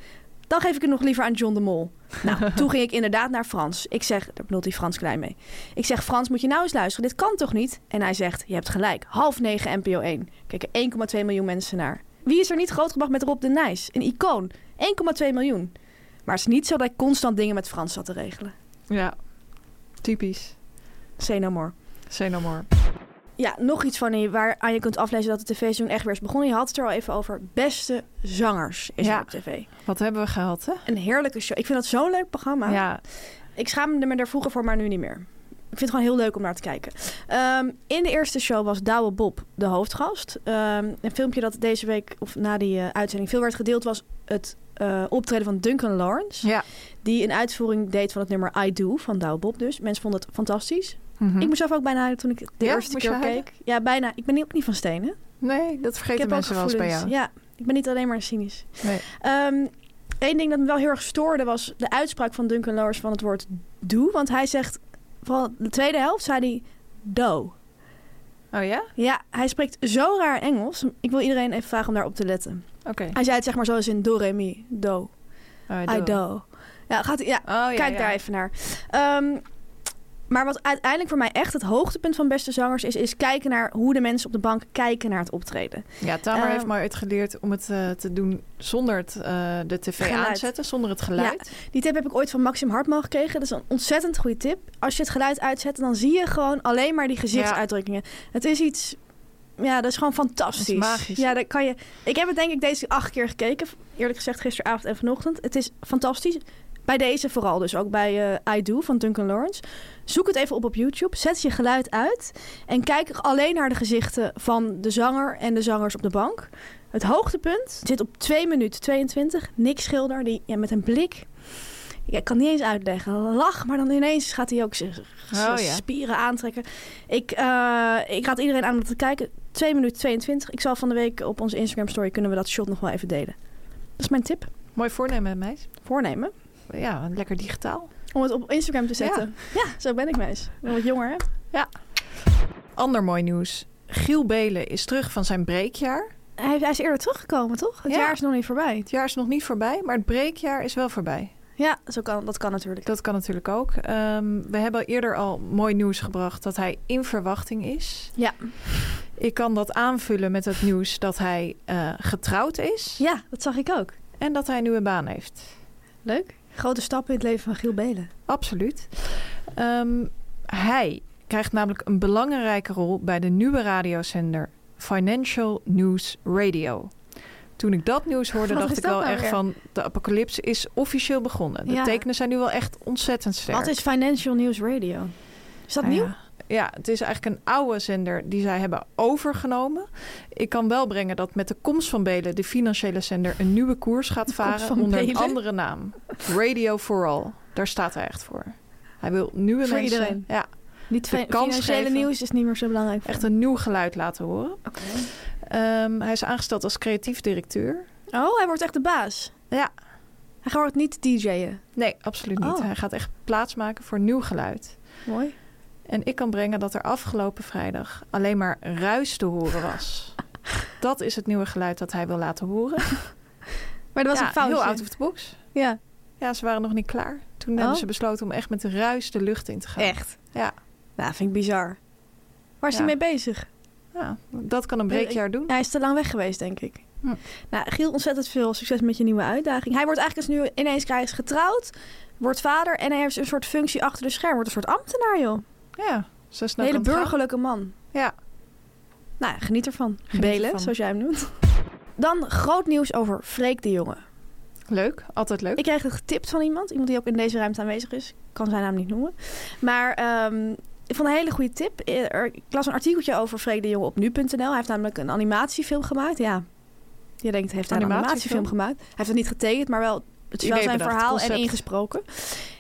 Dan geef ik het nog liever aan John de Mol. Nou, toen ging ik inderdaad naar Frans. Ik zeg, daar bedoelt hij Frans Klein mee. Ik zeg, Frans, moet je nou eens luisteren? Dit kan toch niet? En hij zegt, je hebt gelijk. Half negen NPO 1. Kijken 1,2 miljoen mensen naar. Wie is er niet grootgebracht met Rob de Nijs? Een icoon. 1,2 miljoen. Maar het is niet zo dat ik constant dingen met Frans zat te regelen.
Ja. Typisch.
Say no more.
Say no more.
Ja, nog iets van je, waaraan je kunt aflezen dat de tv-seizoen echt weer is begonnen. Je had het er al even over. Beste zangers is
Ja.
er op tv.
Wat hebben we gehad, hè?
Een heerlijke show. Ik vind dat zo'n leuk programma.
Ja.
Ik schaamde me daar vroeger voor, maar nu niet meer. Ik vind het gewoon heel leuk om naar te kijken. Ehm, in de eerste show was Douwe Bob de hoofdgast. Ehm, een filmpje dat deze week, of na die eh, uitzending, veel werd gedeeld... was het eh, optreden van Duncan Lawrence.
Ja.
Die een uitvoering deed van het nummer I Do, van Douwe Bob dus. Mensen vonden het fantastisch.
Mhm.
Ik moest zelf ook bijna huilen toen ik het de
Ja?
eerste
Moest je
keer
huilen?
keek. Ja, bijna. Ik ben ook niet van stenen.
Nee, dat
Ik
vergeten
heb ook
mensen wel eens bij
gevoelens.
jou.
Ja, ik ben niet alleen maar cynisch.
Nee.
Eén ding dat me wel heel erg stoorde was de uitspraak van Duncan Lawrence van het woord doe. Want hij zegt, vooral de tweede helft zei hij do.
Oh ja?
Ja, hij spreekt zo raar Engels. Ik wil iedereen even vragen om daarop te letten.
Oké.
Hij zei het zeg maar zoals in do, re, mi, do,
Oh,
I do. Ja, gaat, ja
Oh, ja,
kijk
ja.
daar even naar. Ehm, maar wat uiteindelijk voor mij echt het hoogtepunt van Beste Zangers is... is kijken naar hoe de mensen op de bank kijken naar het optreden.
Ja, Tamer
Eh,
heeft mij uitgeleerd om het eh, te doen zonder het, eh, de tv
Geluid.
aanzetten, zonder het geluid.
Die tip heb ik ooit van Maxim Hartman gekregen. Dat is een ontzettend goede tip. Als je het geluid uitzet, dan zie je gewoon alleen maar die gezichtsuitdrukkingen. Het is iets... Ja, dat is gewoon fantastisch.
Dat is magisch.
Ja, dat kan je... Ik heb het denk ik deze acht keer gekeken. Eerlijk gezegd gisteravond en vanochtend. Het is fantastisch. Bij deze vooral dus. Ook bij eh I Do van Duncan Lawrence. Zoek het even op op YouTube. Zet je geluid uit. En kijk alleen naar de gezichten van de zanger en de zangers op de bank. Het hoogtepunt zit op 2 minuten 22. Nick Schilder, die ja, met een blik... Ja, ik kan niet eens uitleggen. Lach, maar dan ineens gaat hij ook zijn zijn
Oh, ja.
spieren aantrekken. Ik, eh, ik raad iedereen aan om te kijken. 2 minuten 22. Ik zal van de week op onze Instagram story kunnen we dat shot nog wel even delen. Dat is mijn tip.
Mooi voornemen, meis.
Voornemen.
Ja, lekker digitaal.
Om het op Instagram te zetten. Ja, zo ben ik meis. Ik ben wat jonger hè.
Ander mooi nieuws. Giel Belen is terug van zijn breekjaar.
Hij, hij is eerder teruggekomen toch? Het
Ja.
jaar is nog niet voorbij.
Het jaar is nog niet voorbij, maar het breekjaar is wel voorbij.
Ja, zo kan, dat kan natuurlijk.
Dat kan natuurlijk ook. Ehm, we hebben eerder al mooi nieuws gebracht dat hij in verwachting is.
Ja.
Ik kan dat aanvullen met het nieuws dat hij eh, getrouwd is
Ja, dat zag ik ook.
en dat hij een nieuwe baan heeft.
Leuk. Grote stap in het leven van Giel Belen.
Absoluut. Ehm, hij krijgt namelijk een belangrijke rol bij de nieuwe radiozender Financial News Radio. Toen ik dat nieuws hoorde,
Wat
dacht
is
ik
dat
wel
nou
echt
weer?
van de apocalypse is officieel begonnen. De
Ja.
tekenen zijn nu wel echt ontzettend sterk.
Wat is Financial News Radio? Is dat
Nou
nieuw?
Ja. Ja, het is eigenlijk een oude zender die zij hebben overgenomen. Ik kan wel brengen dat met de komst van Belen de financiële zender een nieuwe koers gaat varen
van
onder een
Belen?
andere naam. Radio for All. Daar staat hij echt voor. Hij wil nieuwe
Voor
mensen.
iedereen.
Ja,
Niet
de kans
financiële
geven.
nieuws is niet meer zo belangrijk. voor
echt
hem.
een nieuw geluid laten horen.
Oké.
Ehm, hij is aangesteld als creatief directeur.
Oh, hij wordt echt de baas.
Ja.
Hij gaat ook niet DJ'en.
Nee, absoluut niet.
Oh.
Hij gaat echt plaatsmaken voor nieuw geluid.
Mooi.
En ik kan brengen dat er afgelopen vrijdag alleen maar ruis te horen was. dat is het nieuwe geluid dat hij wil laten horen.
Maar dat was
Ja,
een foutje.
Heel out of the box.
Ja,
Ja, ze waren nog niet klaar. Toen
Oh.
hebben ze besloten om echt met de ruis de lucht in te gaan.
echt.
Ja.
Nou, vind ik bizar. Waar is
Ja.
hij mee bezig?
Ja, dat kan een
Nee,
breekjaar doen.
hij is te lang weg geweest, denk ik.
Hm.
Nou, Giel, ontzettend veel succes met je nieuwe uitdaging. Hij wordt eigenlijk dus nu ineens hij is getrouwd, wordt vader en hij heeft een soort functie achter de scherm. Wordt een soort ambtenaar, joh.
Ja, zo
Een
snel
hele
kan het gaan.
burgerlijke man.
Ja.
Nou, ja, geniet ervan.
Geniet
Belen,
ervan.
zoals jij hem noemt. Dan groot nieuws over Freek de Jonge.
Leuk, altijd leuk.
Ik kreeg het getipt van iemand. Iemand die ook in deze ruimte aanwezig is. Ik kan zijn naam niet noemen. Maar ehm, ik vond een hele goede tip. Eh, er- Ik las een artikeltje over Freek de Jonge op nu.nl. Hij heeft namelijk een animatiefilm gemaakt. Ja, je denkt, heeft hij een
Animatiefilm?
animatiefilm gemaakt? Hij heeft het niet getekend, maar wel, het is wel
Idee
zijn
bedacht,
verhaal en
concept.
ingesproken.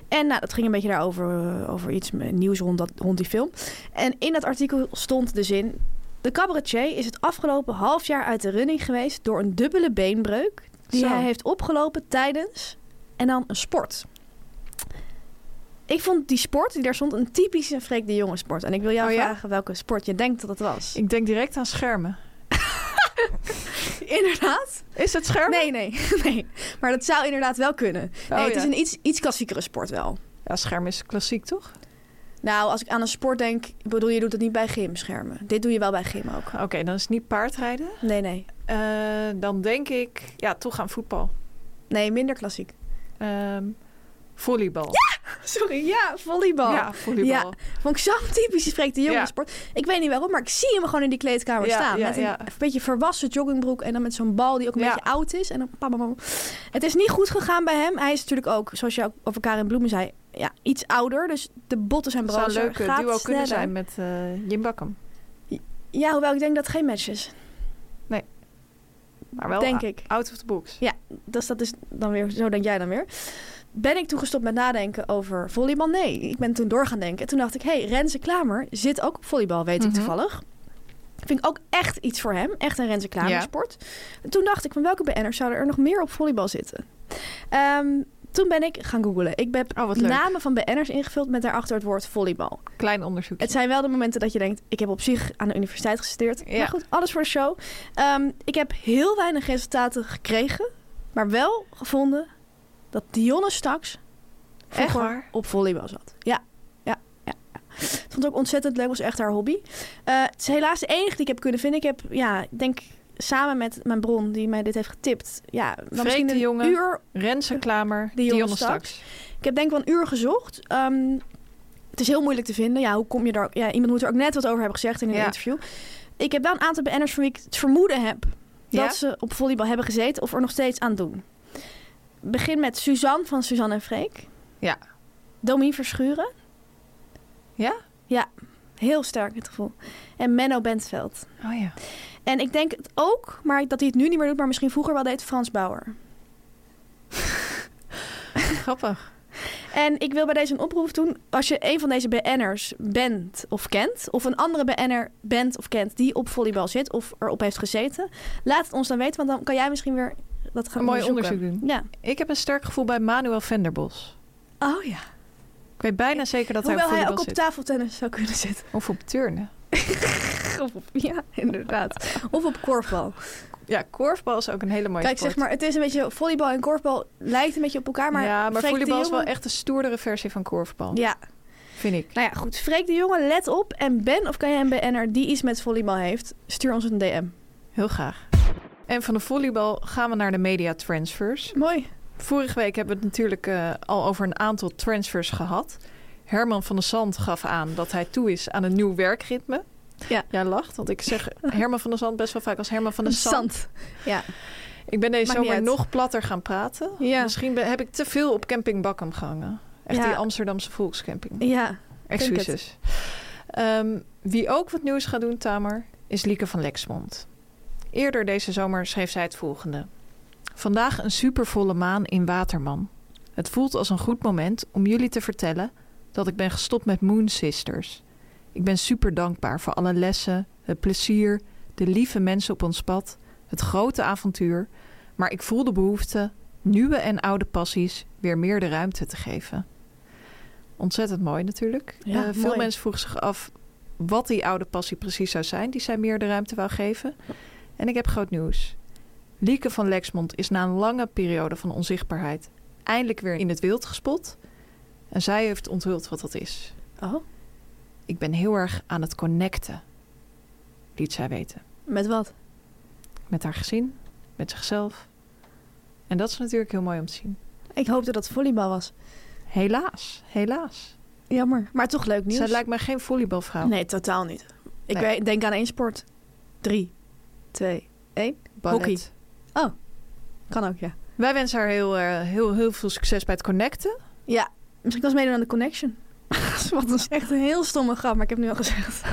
En nou, dat ging een beetje daarover eh, over iets met nieuws rond, dat, rond die film. En in dat artikel stond dus de zin... De cabaretier is het afgelopen half jaar uit de running geweest... door een dubbele beenbreuk die
Zo.
hij heeft opgelopen tijdens en dan een sport. Ik vond die sport die daar stond een typische Freek de Jonge sport. En ik wil jou
Oh ja?
vragen welke sport je denkt dat het was.
Ik denk direct aan schermen.
Inderdaad?
Is het schermen?
Nee, nee, nee. Maar dat zou inderdaad wel kunnen.
Oh,
Nee, het
ja.
is een iets, iets klassiekere sport wel.
Ja, scherm is klassiek, toch?
Nou, als ik aan een sport denk, ik bedoel, je doet het niet bij gymschermen. Dit doe je wel bij gym ook.
Oké, dan is het niet paardrijden.
Nee, nee.
Eh, dan denk ik, ja, toch aan voetbal.
Nee, minder klassiek.
Ehm, volleybal.
Sorry, ja, volleybal.
Ja, volleybal.
Vond ik zo'n typische Freek de Jonge
Ja.
sport. Ik weet niet waarom, maar ik zie hem gewoon in die kleedkamer
Ja,
staan.
ja,
met een,
ja.
een beetje verwassen joggingbroek en dan met zo'n bal die ook een
Ja.
beetje oud is. En dan pam, pam, pam. Het is niet goed gegaan bij hem. Hij is natuurlijk ook, zoals je ook over Karin Bloemen zei, ja, iets ouder. Dus de botten zijn
Het zou een
brozer.
leuke
gaat
duo kunnen
sneller.
zijn met eh Jim Bakkum.
Ja, hoewel ik denk dat het geen match is.
Maar wel
denk
a-
ik.
out of the box.
Dus dat is dan weer, zo denk jij dan weer. Ben ik toen gestopt met nadenken over volleybal? Nee, ik ben toen door gaan denken. Toen dacht ik, hé, hey, Renze Klamer zit ook op volleybal, weet
Mhm.
ik toevallig. Vind ik ook echt iets voor hem. Echt een Renze Klamer
Ja.
sport. En Toen dacht ik, van welke BN'ers zouden er nog meer op volleybal zitten? Ehm, toen ben ik gaan googlen. Ik heb
Oh, wat leuk.
namen van BN'ers ingevuld met daarachter het woord volleybal.
Klein onderzoek.
Het zijn wel de momenten dat je denkt, ik heb op zich aan de universiteit gestudeerd.
Ja.
Maar goed, alles voor de show. Ehm, ik heb heel weinig resultaten gekregen, maar wel gevonden dat Dionne Staks
Echt
vroeger
waar?
op volleybal zat. Ja, ja, ja. ja. Het vond ik ook ontzettend leuk, was echt haar hobby. Eh, het is helaas de enige die ik heb kunnen vinden. Ik heb, ja, ik denk samen met mijn bron die mij dit heeft getipt. Ja, maar
Freek
misschien
de
een
Jonge.
uur
Renze Klamer,
Die jongen
Dionne
straks.
Staks.
ik heb denk wel een uur gezocht. Ehm, het is heel moeilijk te vinden. Ja, hoe kom je daar? Ja, iemand moet er ook net wat over hebben gezegd in een
Ja.
interview. Ik heb wel een aantal BN'ers van wie ik het vermoeden heb
Ja?
dat ze op volleybal hebben gezeten of er nog steeds aan doen. Begin met Suzanne van Suzanne en Freek.
Ja.
Domien Verschuren.
Ja?
Ja, heel sterk het gevoel. En Menno Bentveld.
Oh ja.
En ik denk het ook, maar dat hij het nu niet meer doet, maar misschien vroeger wel deed Frans Bauer.
Grappig.
En ik wil bij deze een oproep doen. Als je een van deze BN'ers bent of kent... of een andere BN'er bent of kent die op volleybal zit... of erop heeft gezeten, laat het ons dan weten. Want dan kan jij misschien weer dat gaan
Een mooi
onderzoeken.
onderzoek doen.
Ja.
Ik heb een sterk gevoel bij Manuel Venderbos.
Oh ja.
Ik weet bijna zeker dat hij
Hoewel
op
hij ook
volleybal
op tafeltennis zou kunnen zitten.
zit. Of op turnen.
Of op- ja, inderdaad. Of op korfbal.
Ja, korfbal is ook een hele mooie
Kijk,
sport.
zeg maar, het is een beetje... Volleybal en korfbal lijkt een beetje op elkaar, maar...
ja, maar
Freek de
volleybal is wel
Jonge-
echt de stoerdere versie van korfbal.
Ja,
Vind ik.
nou ja, goed. Freek de jongen, let op. En Ben of kan jij een BN'er die iets met volleybal heeft, stuur ons een DM.
Heel graag. En van de volleybal gaan we naar de media transfers.
Mooi.
Vorige week hebben we het natuurlijk eh, al over een aantal transfers gehad. Herman van der Zand gaf aan dat hij toe is aan een nieuw werkritme.
Ja.
Jij lacht, want ik zeg Herman van der Zand best wel vaak als Herman van der Zand.
Ja.
Ik ben deze
Maakt niet
zomer
uit.
nog platter gaan praten.
Ja.
Misschien ben- heb ik te veel op Camping Bakkum gehangen. Echt
Ja.
die Amsterdamse volkscamping.
Ja, het.
Excuses. Ehm, wie ook wat nieuws gaat doen, Tamer, is Lieke van Lexmond. Eerder deze zomer schreef zij het volgende. Vandaag een supervolle maan in Waterman. Het voelt als een goed moment om jullie te vertellen dat ik ben gestopt met Moon Sisters. Ik ben super dankbaar voor alle lessen, het plezier, de lieve mensen op ons pad, het grote avontuur. Maar ik voel de behoefte nieuwe en oude passies weer meer de ruimte te geven. Ontzettend mooi natuurlijk.
Ja,
Eh, veel
mooi.
mensen vroegen zich af wat die oude passie precies zou zijn die zij meer de ruimte wou geven. En ik heb groot nieuws. Lieke van Lexmond is na een lange periode van onzichtbaarheid eindelijk weer in het wild gespot. En zij heeft onthuld wat dat is.
Oh,
Ik ben heel erg aan het connecten, liet zij weten.
met wat?
Met haar gezin, met zichzelf. En dat is natuurlijk heel mooi om te zien.
Ik hoopte dat het volleybal was.
Helaas, helaas.
Jammer. Maar toch leuk nieuws.
Zij lijkt mij geen volleybalvrouw.
Nee, totaal niet. Ik
Nee.
weet- denk aan één sport. Drie, twee,
Ballet.
hockey. kan ook, ja.
Wij wensen haar heel, eh, heel, heel veel succes bij het connecten.
Misschien kan ze meedoen aan de connection. wat is echt een heel stomme grap, maar ik heb nu al gezegd.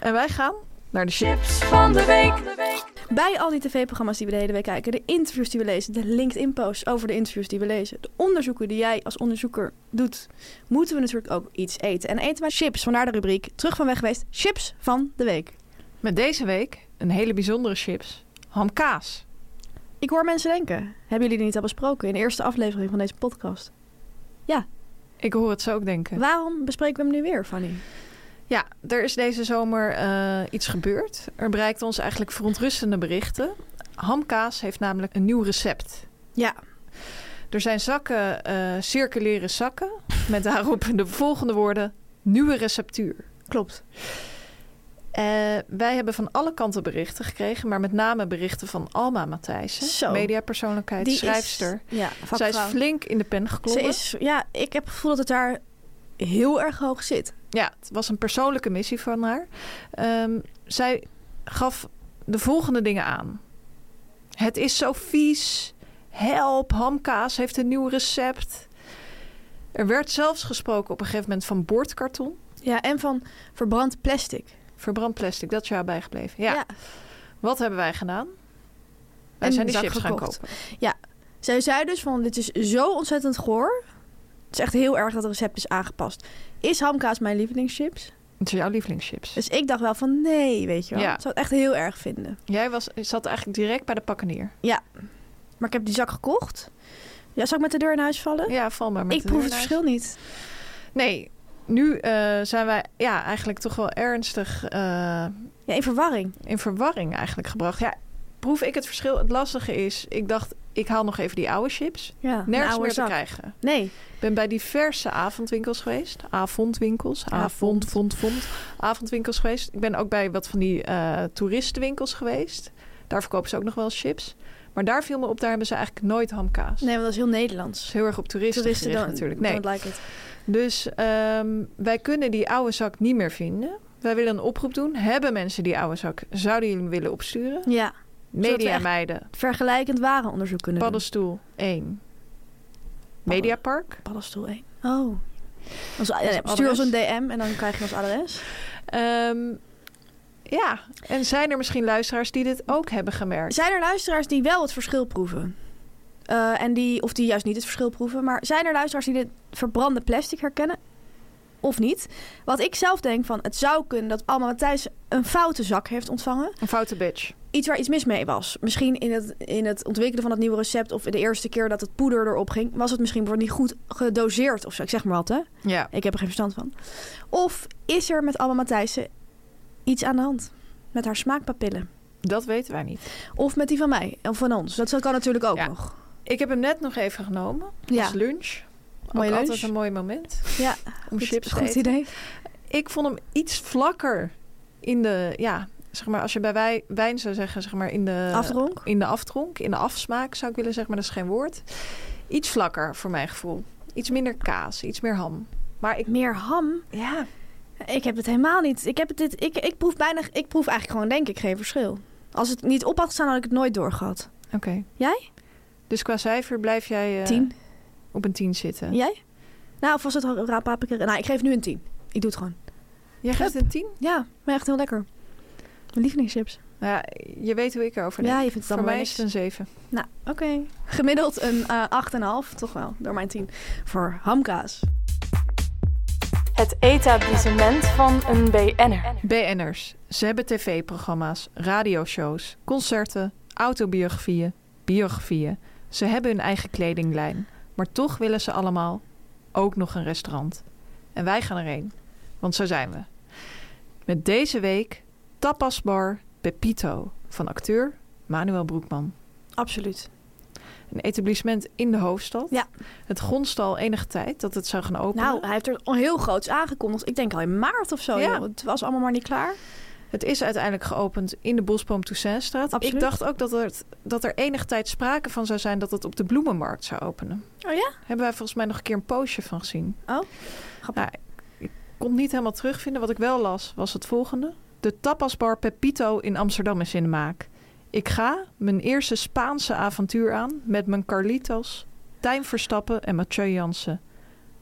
En wij gaan naar de shit.
Chips van de week.
Bij al die tv-programma's die we de hele week kijken, de interviews die we lezen, de LinkedIn-posts over de interviews die we lezen, de onderzoeken die jij als onderzoeker doet, moeten we natuurlijk ook iets eten. En eten wij chips, vandaar de rubriek Terug van weg geweest, chips van de week.
Met deze week een hele bijzondere chips. Hamkaas.
Ik hoor mensen denken, hebben jullie dit niet al besproken in de eerste aflevering van deze podcast?
Ik hoor het zo ook denken.
Waarom bespreken we hem nu weer, Fanny?
Ja, er is deze zomer eh, iets gebeurd. Er bereikten ons eigenlijk verontrustende berichten. Hamkaas heeft namelijk een nieuw recept.
Ja,
Er zijn zakken, eh circulaire zakken, met daarop de volgende woorden: nieuwe receptuur.
klopt.
Eh, wij hebben van alle kanten berichten gekregen, maar met name berichten van Alma Matthijssen,
Zo.
mediapersoonlijkheid,
is-
schrijfster.
ja,
Zij
vakvrouw.
is flink in de pen
Ze
geklommen.
is, ja, ik heb het gevoel dat het daar heel erg hoog zit.
Ja, het was een persoonlijke missie van haar. Ehm, zij gaf de volgende dingen aan. Het is zo vies. Help, hamkaas heeft een nieuw recept. Er werd zelfs gesproken op een gegeven moment van bordkarton.
Ja, en van verbrand plastic.
Verbrand plastic, dat is jou bijgebleven. Ja, wat hebben wij gedaan? Wij
En
zijn die
zak
chips gaan
gekocht.
kopen.
Zij zei dus van, dit is zo ontzettend goor. Het is echt heel erg dat het recept is aangepast. Is hamkaas mijn lievelingschips?
Het zijn jouw lievelingschips.
Dus ik dacht wel van, nee, weet je wel.
Ja.
Ik zou het echt heel erg vinden.
Jij was, zat eigenlijk direct bij de pakkenier.
Maar ik heb die zak gekocht. Ja, zou ik met de deur in huis vallen?
Ja, val maar met
ik
de
proef
deur
het
naar
verschil niet.
huis. Nee, nu eh, zijn wij ja, eigenlijk toch wel ernstig eh,
Ja, in verwarring.
in verwarring eigenlijk gebracht. Ja, proef ik het verschil. Het lastige is, ik dacht, ik haal nog even die oude chips.
Ja, een
Nergens
oude
meer
zak.
te krijgen.
Nee,
Ik ben bij diverse avondwinkels geweest. Avondwinkels, avond,
Avond.
vond, vond. Avondwinkels geweest. Ik ben ook bij wat van die eh, toeristenwinkels geweest. Daar verkopen ze ook nog wel eens chips. Maar daar viel me op, daar hebben ze eigenlijk nooit hamkaas.
nee, want dat is heel
is
Nederlands.
heel erg op toeristen,
Toeristen
gericht
dan
natuurlijk. Nee.
don't like it.
Dus ehm, wij kunnen die oude zak niet meer vinden. Wij willen een oproep doen. Hebben mensen die oude zak? Zouden jullie hem willen opsturen?
Ja,
Media
we echt-
meiden.
vergelijkend warenonderzoek kunnen doen.
Paddenstoel 1. Mediapark.
Paddenstoel 1. Oh. Ons, ja,
Ons
ja, stuur ons
adres.
een DM en dan krijg je ons adres.
Ehm, ja, en zijn er misschien luisteraars die dit ook hebben gemerkt?
Zijn er luisteraars die wel het verschil proeven? Eh, en die, of die juist niet het verschil proeven. Maar zijn er luisteraars die dit verbrande plastic herkennen? Of niet? Wat ik zelf denk van, het zou kunnen dat Alma Matthijs een foute zak heeft ontvangen.
Een foute bitch.
Iets waar iets mis mee was. Misschien in het, in het ontwikkelen van dat nieuwe recept of de eerste keer dat het poeder erop ging, was het misschien bijvoorbeeld niet goed gedoseerd of zo. Ik zeg maar wat, hè?
Ja.
Ik heb er geen verstand van. Of is er met Alma Matthijssen iets aan de hand? Met haar smaakpapillen.
Dat weten wij niet.
Of met die van mij. Of van ons. Dat kan natuurlijk ook
Ja.
nog.
Ik heb hem net nog even genomen.
Ja,
Als lunch.
Mooie
ook
lunch.
altijd een mooi moment.
Ja,
Om
goed,
chips te
goed
eten.
idee.
Ik vond hem iets vlakker in de, ja, zeg maar, als je bij wij, wijn zou zeggen, zeg maar, in de
Afdronk.
in de aftronk, in de afsmaak zou ik willen zeggen, maar dat is geen woord. Iets vlakker voor mijn gevoel. Iets minder kaas, iets meer ham. Maar ik,
Meer ham.
ja,
Ik heb het helemaal niet. Ik, heb het dit, ik, ik proef bijna. Ik proef eigenlijk gewoon, denk ik, geen verschil. Als het niet op had gestaan, had ik het nooit doorgehad.
oké.
Jij?
Dus qua cijfer blijf jij eh,
Tien.
op een 10 zitten.
Jij? Nou, of was het al- raad paprika? Nou, ik geef nu een tien. Ik doe het gewoon.
Jij geeft een 10?
Ja, maar echt heel lekker. Mijn lievelingschips.
Nou ja, je weet hoe ik erover denk.
Ja, je vindt het
voor
allemaal
mij is
niks.
het een 7.
Nou, oké. Gemiddeld een eh 8,5, toch wel, door mijn 10. Voor hamkaas.
Het etablissement van een BN'er.
BN'ers. Ze hebben tv-programma's, radioshows, concerten, autobiografieën, biografieën. Ze hebben hun eigen kledinglijn, maar toch willen ze allemaal ook nog een restaurant. En wij gaan erheen, want zo zijn we. Met deze week Tapasbar Pepito van acteur Manuel Broekman.
Absoluut.
Een etablissement in de hoofdstad.
Ja.
Het gonste al enige tijd dat het zou gaan openen.
Nou, hij heeft er al heel groots aangekondigd. Ik denk al in maart of zo.
Ja.
joh. Het was allemaal maar niet klaar.
Het is uiteindelijk geopend in de Bosboom Toussaintstraat.
Absoluut.
Ik dacht ook dat er, dat er enig tijd sprake van zou zijn dat het op de bloemenmarkt zou openen.
Oh ja?
Hebben wij volgens mij nog een keer een postje van gezien.
Oh, grappig.
Nou, ik kon het niet helemaal terugvinden. Wat ik wel las was het volgende. De tapasbar Pepito in Amsterdam is in de maak. Ik ga mijn eerste Spaanse avontuur aan met mijn Carlitos, Tijn Verstappen en Mathieu Jansen.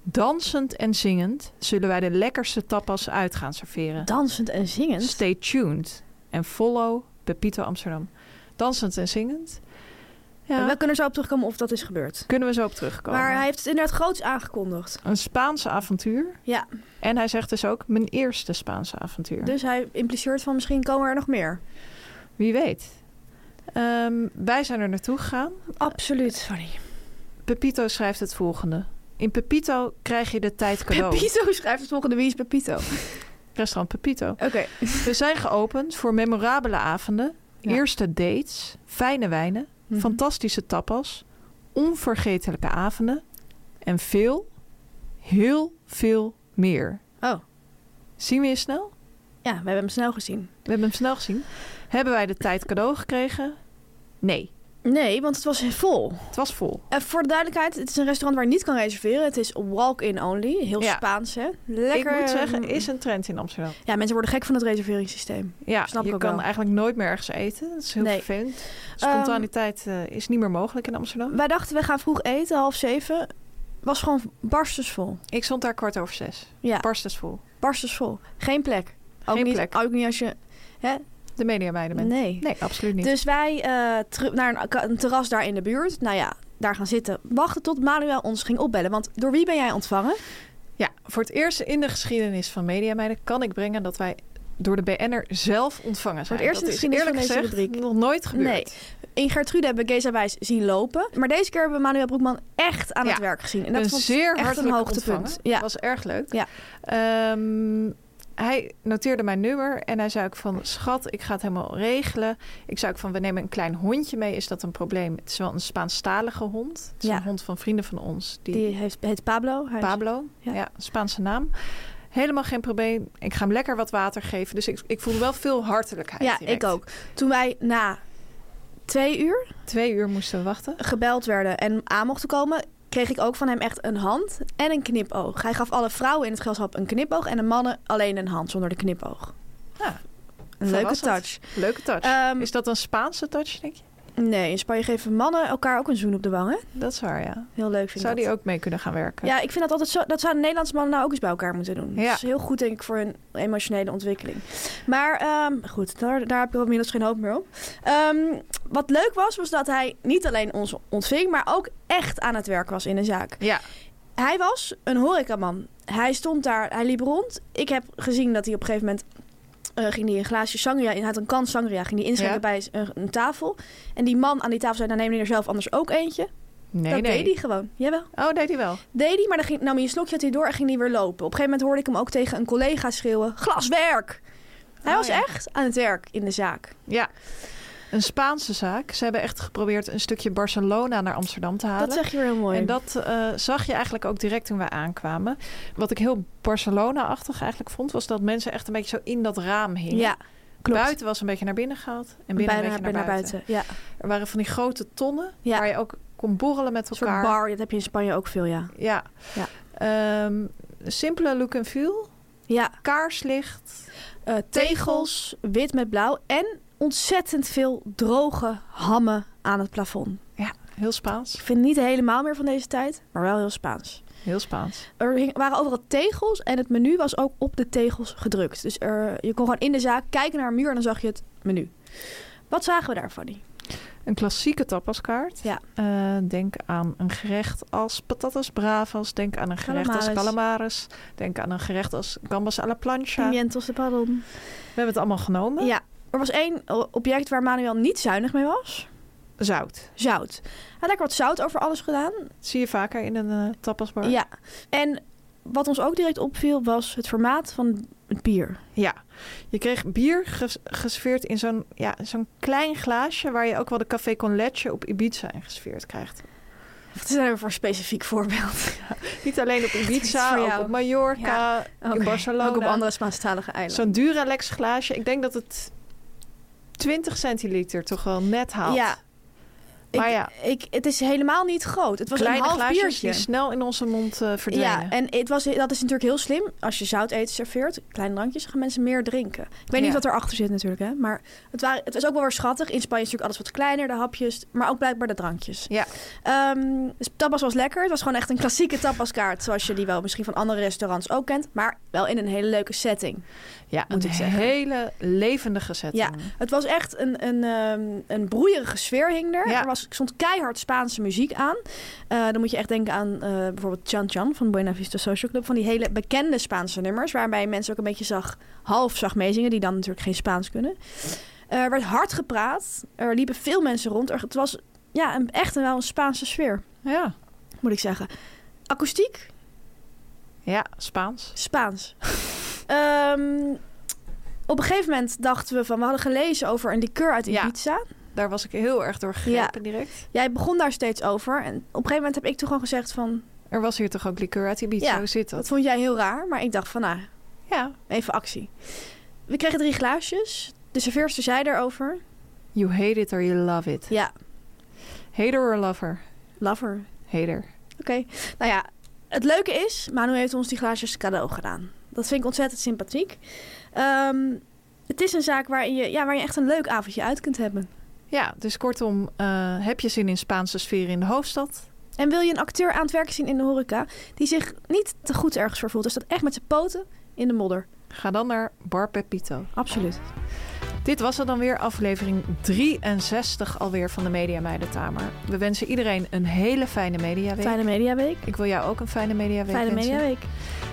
Dansend en zingend zullen wij de lekkerste tapas uit gaan serveren.
Dansend en zingend.
Stay tuned en follow Pepito Amsterdam. Dansend en zingend. Ja,
We kunnen zo op terugkomen of dat is gebeurd.
kunnen we zo op terugkomen.
Maar hij heeft het inderdaad groots aangekondigd.
Een Spaanse avontuur.
Ja,
En hij zegt dus ook mijn eerste Spaanse avontuur.
dus hij impliceert van misschien komen er nog meer.
Wie weet. Ehm, wij zijn er naartoe gegaan.
Absoluut, sorry.
Pepito schrijft het volgende. In Pepito krijg je de tijd cadeau.
Pepito schrijft het volgende. Wie is Pepito? Oké.
Restaurant Pepito. We zijn geopend voor memorabele avonden,
Ja.
eerste dates, fijne wijnen,
Mhm.
fantastische tapas, onvergetelijke avonden en veel, heel veel meer.
Oh.
Zien we je snel?
Ja, we hebben hem snel gezien.
We hebben hem snel gezien. Hebben wij de tijd cadeau gekregen? Nee,
Nee, want het was vol.
het was vol.
En voor de duidelijkheid, het is een restaurant waar je niet kan reserveren. Het is walk-in only. Heel
Ja.
Spaans, hè? Lekker. hm.
Ik moet zeggen, is een trend in Amsterdam.
Ja, mensen worden gek van het reserveringssysteem.
Ja,
Snap ik
je
ook
kan
wel.
eigenlijk nooit meer ergens eten. Dat is heel
Nee.
vervelend. Spontaniteit eh, is niet meer mogelijk in Amsterdam.
Wij dachten, we gaan vroeg eten, half zeven. Was gewoon barstensvol.
Ik stond daar kwart over zes.
Ja,
Barst is vol.
barstensvol. Geen plek. Ook
Geen
niet,
plek.
Ook niet als je... Hè?
De media meiden bent.
Nee.
Nee, absoluut niet.
Dus wij eh, teru- naar een, ka- een terras daar in de buurt. Nou ja, daar gaan zitten. Wachten tot Manuel ons ging opbellen. Want door wie ben jij ontvangen?
Ja, voor het eerst in de geschiedenis van media meiden kan ik brengen dat wij door de BN'er zelf ontvangen zijn.
Voor het eerst
dat
in de
is
geschiedenis
eerlijk
van deze
gezegd
rubriek.
nog nooit gebeurd.
Nee. In Gertrude hebben we Geza Wijs zien lopen. Maar deze keer hebben we Manuel Broekman echt aan
Ja,
het werk gezien. En
een
dat was
zeer
echt een
hartelijk
hoogtepunt.
ontvangen.
Ja.
was erg leuk.
Ja.
Ehm, hij noteerde mijn nummer en hij zei ook van... schat, ik ga het helemaal regelen. Ik zei ook van, we nemen een klein hondje mee. Is dat een probleem? Het is wel een Spaanstalige hond. Het is
Ja.
een hond van vrienden van ons. Die,
die heeft, heet Pablo. Hij is-
Pablo,
Ja.
ja. een Spaanse naam. Helemaal geen probleem. Ik ga hem lekker wat water geven. Dus ik, ik voel wel veel hartelijkheid
Ja,
direct.
ik ook. Toen wij na twee uur
Twee uur moesten we wachten.
gebeld werden en aan mochten komen, kreeg ik ook van hem echt een hand en een knipoog. Hij gaf alle vrouwen in het gezelschap een knipoog en de mannen alleen een hand zonder de knipoog.
Ja,
Een leuke touch.
Leuke touch.
Ehm,
is dat een Spaanse touch, denk je?
Nee, in Spanje geven mannen elkaar ook een zoen op de wangen.
Dat is waar, ja.
Heel leuk vind
Zou
ik dat.
die ook mee kunnen gaan werken?
Ja, ik vind dat altijd zo. Dat zouden Nederlandse mannen nou ook eens bij elkaar moeten doen.
Ja.
Dat is heel goed, denk ik, voor hun emotionele ontwikkeling. Maar ehm, goed, daar, daar heb ik inmiddels geen hoop meer op. Ehm, wat leuk was, was dat hij niet alleen ons ontving, maar ook echt aan het werk was in de zaak.
Ja.
Hij was een horecaman. Hij stond daar, hij liep rond. Ik heb gezien dat hij op een gegeven moment... eh, ging hij een glaasje sangria, in- hij had een kan sangria, ging hij inschenken
Ja.
bij een, een tafel. En die man aan die tafel zei, nou neem je er zelf anders ook eentje.
Nee,
dat
nee.
deed hij gewoon, jawel.
Oh, deed hij wel.
Deed hij, maar dan ging, nam hij een slokje uit die door en ging hij weer lopen. Op een gegeven moment hoorde ik hem ook tegen een collega schreeuwen: Glaswerk! Hij
Oh,
was
ja.
echt aan het werk in de zaak.
Ja. Een Spaanse zaak. Ze hebben echt geprobeerd een stukje Barcelona naar Amsterdam te halen.
Dat zeg je weer heel mooi.
en dat eh, zag je eigenlijk ook direct toen wij aankwamen. Wat ik heel Barcelona-achtig eigenlijk vond, was dat mensen echt een beetje zo in dat raam hingen.
ja, klopt.
Buiten was een beetje naar binnen gehaald en binnen
Bijna
een beetje naar, buiten.
Ja.
Er waren van die grote tonnen
Ja.
waar je ook kon borrelen met
Een soort
elkaar.
bar, dat heb je in Spanje ook veel, ja.
Ja.
Ja.
Ehm, simpele look and feel,
Ja,
kaarslicht,
eh, tegels, wit met blauw en ontzettend veel droge hammen aan het plafond.
heel
Ik
Spaans.
vind het niet helemaal meer van deze tijd, maar wel heel Spaans.
Heel Spaans.
Er hing- waren overal tegels en het menu was ook op de tegels gedrukt. Dus er, je kon gewoon in de zaak kijken naar een muur en dan zag je het menu. Wat zagen we daar, Fanny?
Een klassieke tapaskaart.
Ja.
Eh, denk aan een gerecht als patatas bravas. Denk aan een gerecht als
Calamares.
calamares. Denk aan een gerecht als gambas à la plancha.
Pimientos de pardon.
We hebben het allemaal genomen.
Ja, er was één o- object waar Manuel niet zuinig mee was.
Zout.
Zout. Hij had lekker wat zout over alles gedaan.
Zie je vaker in een eh, tapasbar.
Ja. En wat ons ook direct opviel was het formaat van het bier.
Ja. Je kreeg bier ges- geserveerd in zo'n ja, zo'n klein glaasje... waar je ook wel de café con leche op Ibiza in geserveerd krijgt.
Wat is dat nou voor een specifiek voorbeeld?
Niet alleen op
voor
Ibiza, ook
jou.
op Mallorca, in Barcelona.
Ook op andere Spaanstalige eilanden.
Zo'n Duralex glaasje. Ik denk dat het 20 centiliter toch wel net haalt.
Ja.
Maar
ik,
ja.
Ik, het is helemaal niet groot. Het was
Kleine
een half
glaasjes
biertje.
die snel in onze mond eh, verdwijnen.
Ja, en het was, dat is natuurlijk heel slim. Als je zout eten serveert, kleine drankjes, gaan mensen meer drinken. Ik weet
Ja.
niet wat erachter zit natuurlijk, hè. Maar het, waren, het was ook wel weer schattig. In Spanje is natuurlijk alles wat kleiner, de hapjes. Maar ook blijkbaar de drankjes.
Ja.
Ehm, dus tapas was lekker. Het was gewoon echt een klassieke tapaskaart. Zoals je die wel misschien van andere restaurants ook kent. Maar wel in een hele leuke setting.
Ja,
moet
een
ik zeggen.
hele levendige setting.
Ja, het was echt een, een, ehm, een broeierige sfeer hing er.
Ja.
Er was, stond keihard Spaanse muziek aan. Eh, dan moet je echt denken aan eh, bijvoorbeeld Chan Chan van Buena Vista Social Club. Van die hele bekende Spaanse nummers. Waarbij mensen ook een beetje zag, half zag meezingen. Die dan natuurlijk geen Spaans kunnen. Er werd hard gepraat. Er liepen veel mensen rond. Er, het was ja, een, echt een, wel een Spaanse sfeer,
ja.
moet ik zeggen. Akoestiek,
Ja, Spaans.
Spaans. Ehm, op een gegeven moment dachten we van... We hadden gelezen over een liqueur uit
Ja.
Ibiza.
Daar was ik heel erg door gegrepen direct.
Jij begon daar steeds over. En op een gegeven moment heb ik toen gewoon gezegd van...
Er was hier toch ook liqueur uit Ibiza?
Ja,
Hoe zit
Dat
dat?
vond jij heel raar. Maar ik dacht van, nou,
Ja,
even actie. We kregen drie glaasjes. De serveerster zei daarover.
you hate it or you love it.
Ja,
Hater or lover?
lover.
Hater.
Oké. Nou ja, het leuke is... Manu heeft ons die glaasjes cadeau gedaan. Dat vind ik ontzettend sympathiek. Ehm, het is een zaak waarin je, ja, waar je echt een leuk avondje uit kunt hebben.
Ja, dus kortom, eh, heb je zin in Spaanse sfeer in de hoofdstad?
En wil je een acteur aan het werk zien in de horeca... die zich niet te goed ergens vervoelt. Dus dat echt met zijn poten in de modder.
Ga dan naar Bar Pepito.
Absoluut.
Dit was het dan weer, aflevering 63 alweer van de Media Meidentamer. We wensen iedereen een hele fijne mediaweek.
Fijne mediaweek.
Ik wil jou ook een fijne mediaweek
Fijne
wensen.
mediaweek.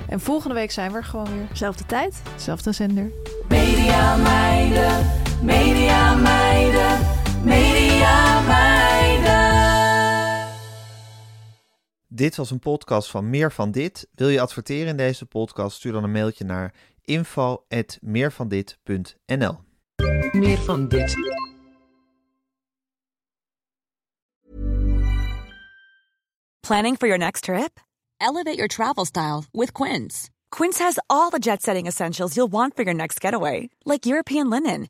En volgende week zijn we er gewoon weer.
Zelfde tijd.
Zelfde zender.
Media meiden, media meiden, media meiden.
Dit was een podcast van Meer van Dit. Wil je adverteren in deze podcast? Stuur dan een mailtje naar info.meervandit.nl
Meer van dit.
Planning for your next trip? Elevate your travel style with Quince. Quince has all the jet setting essentials you'll want for your next getaway, like European linen,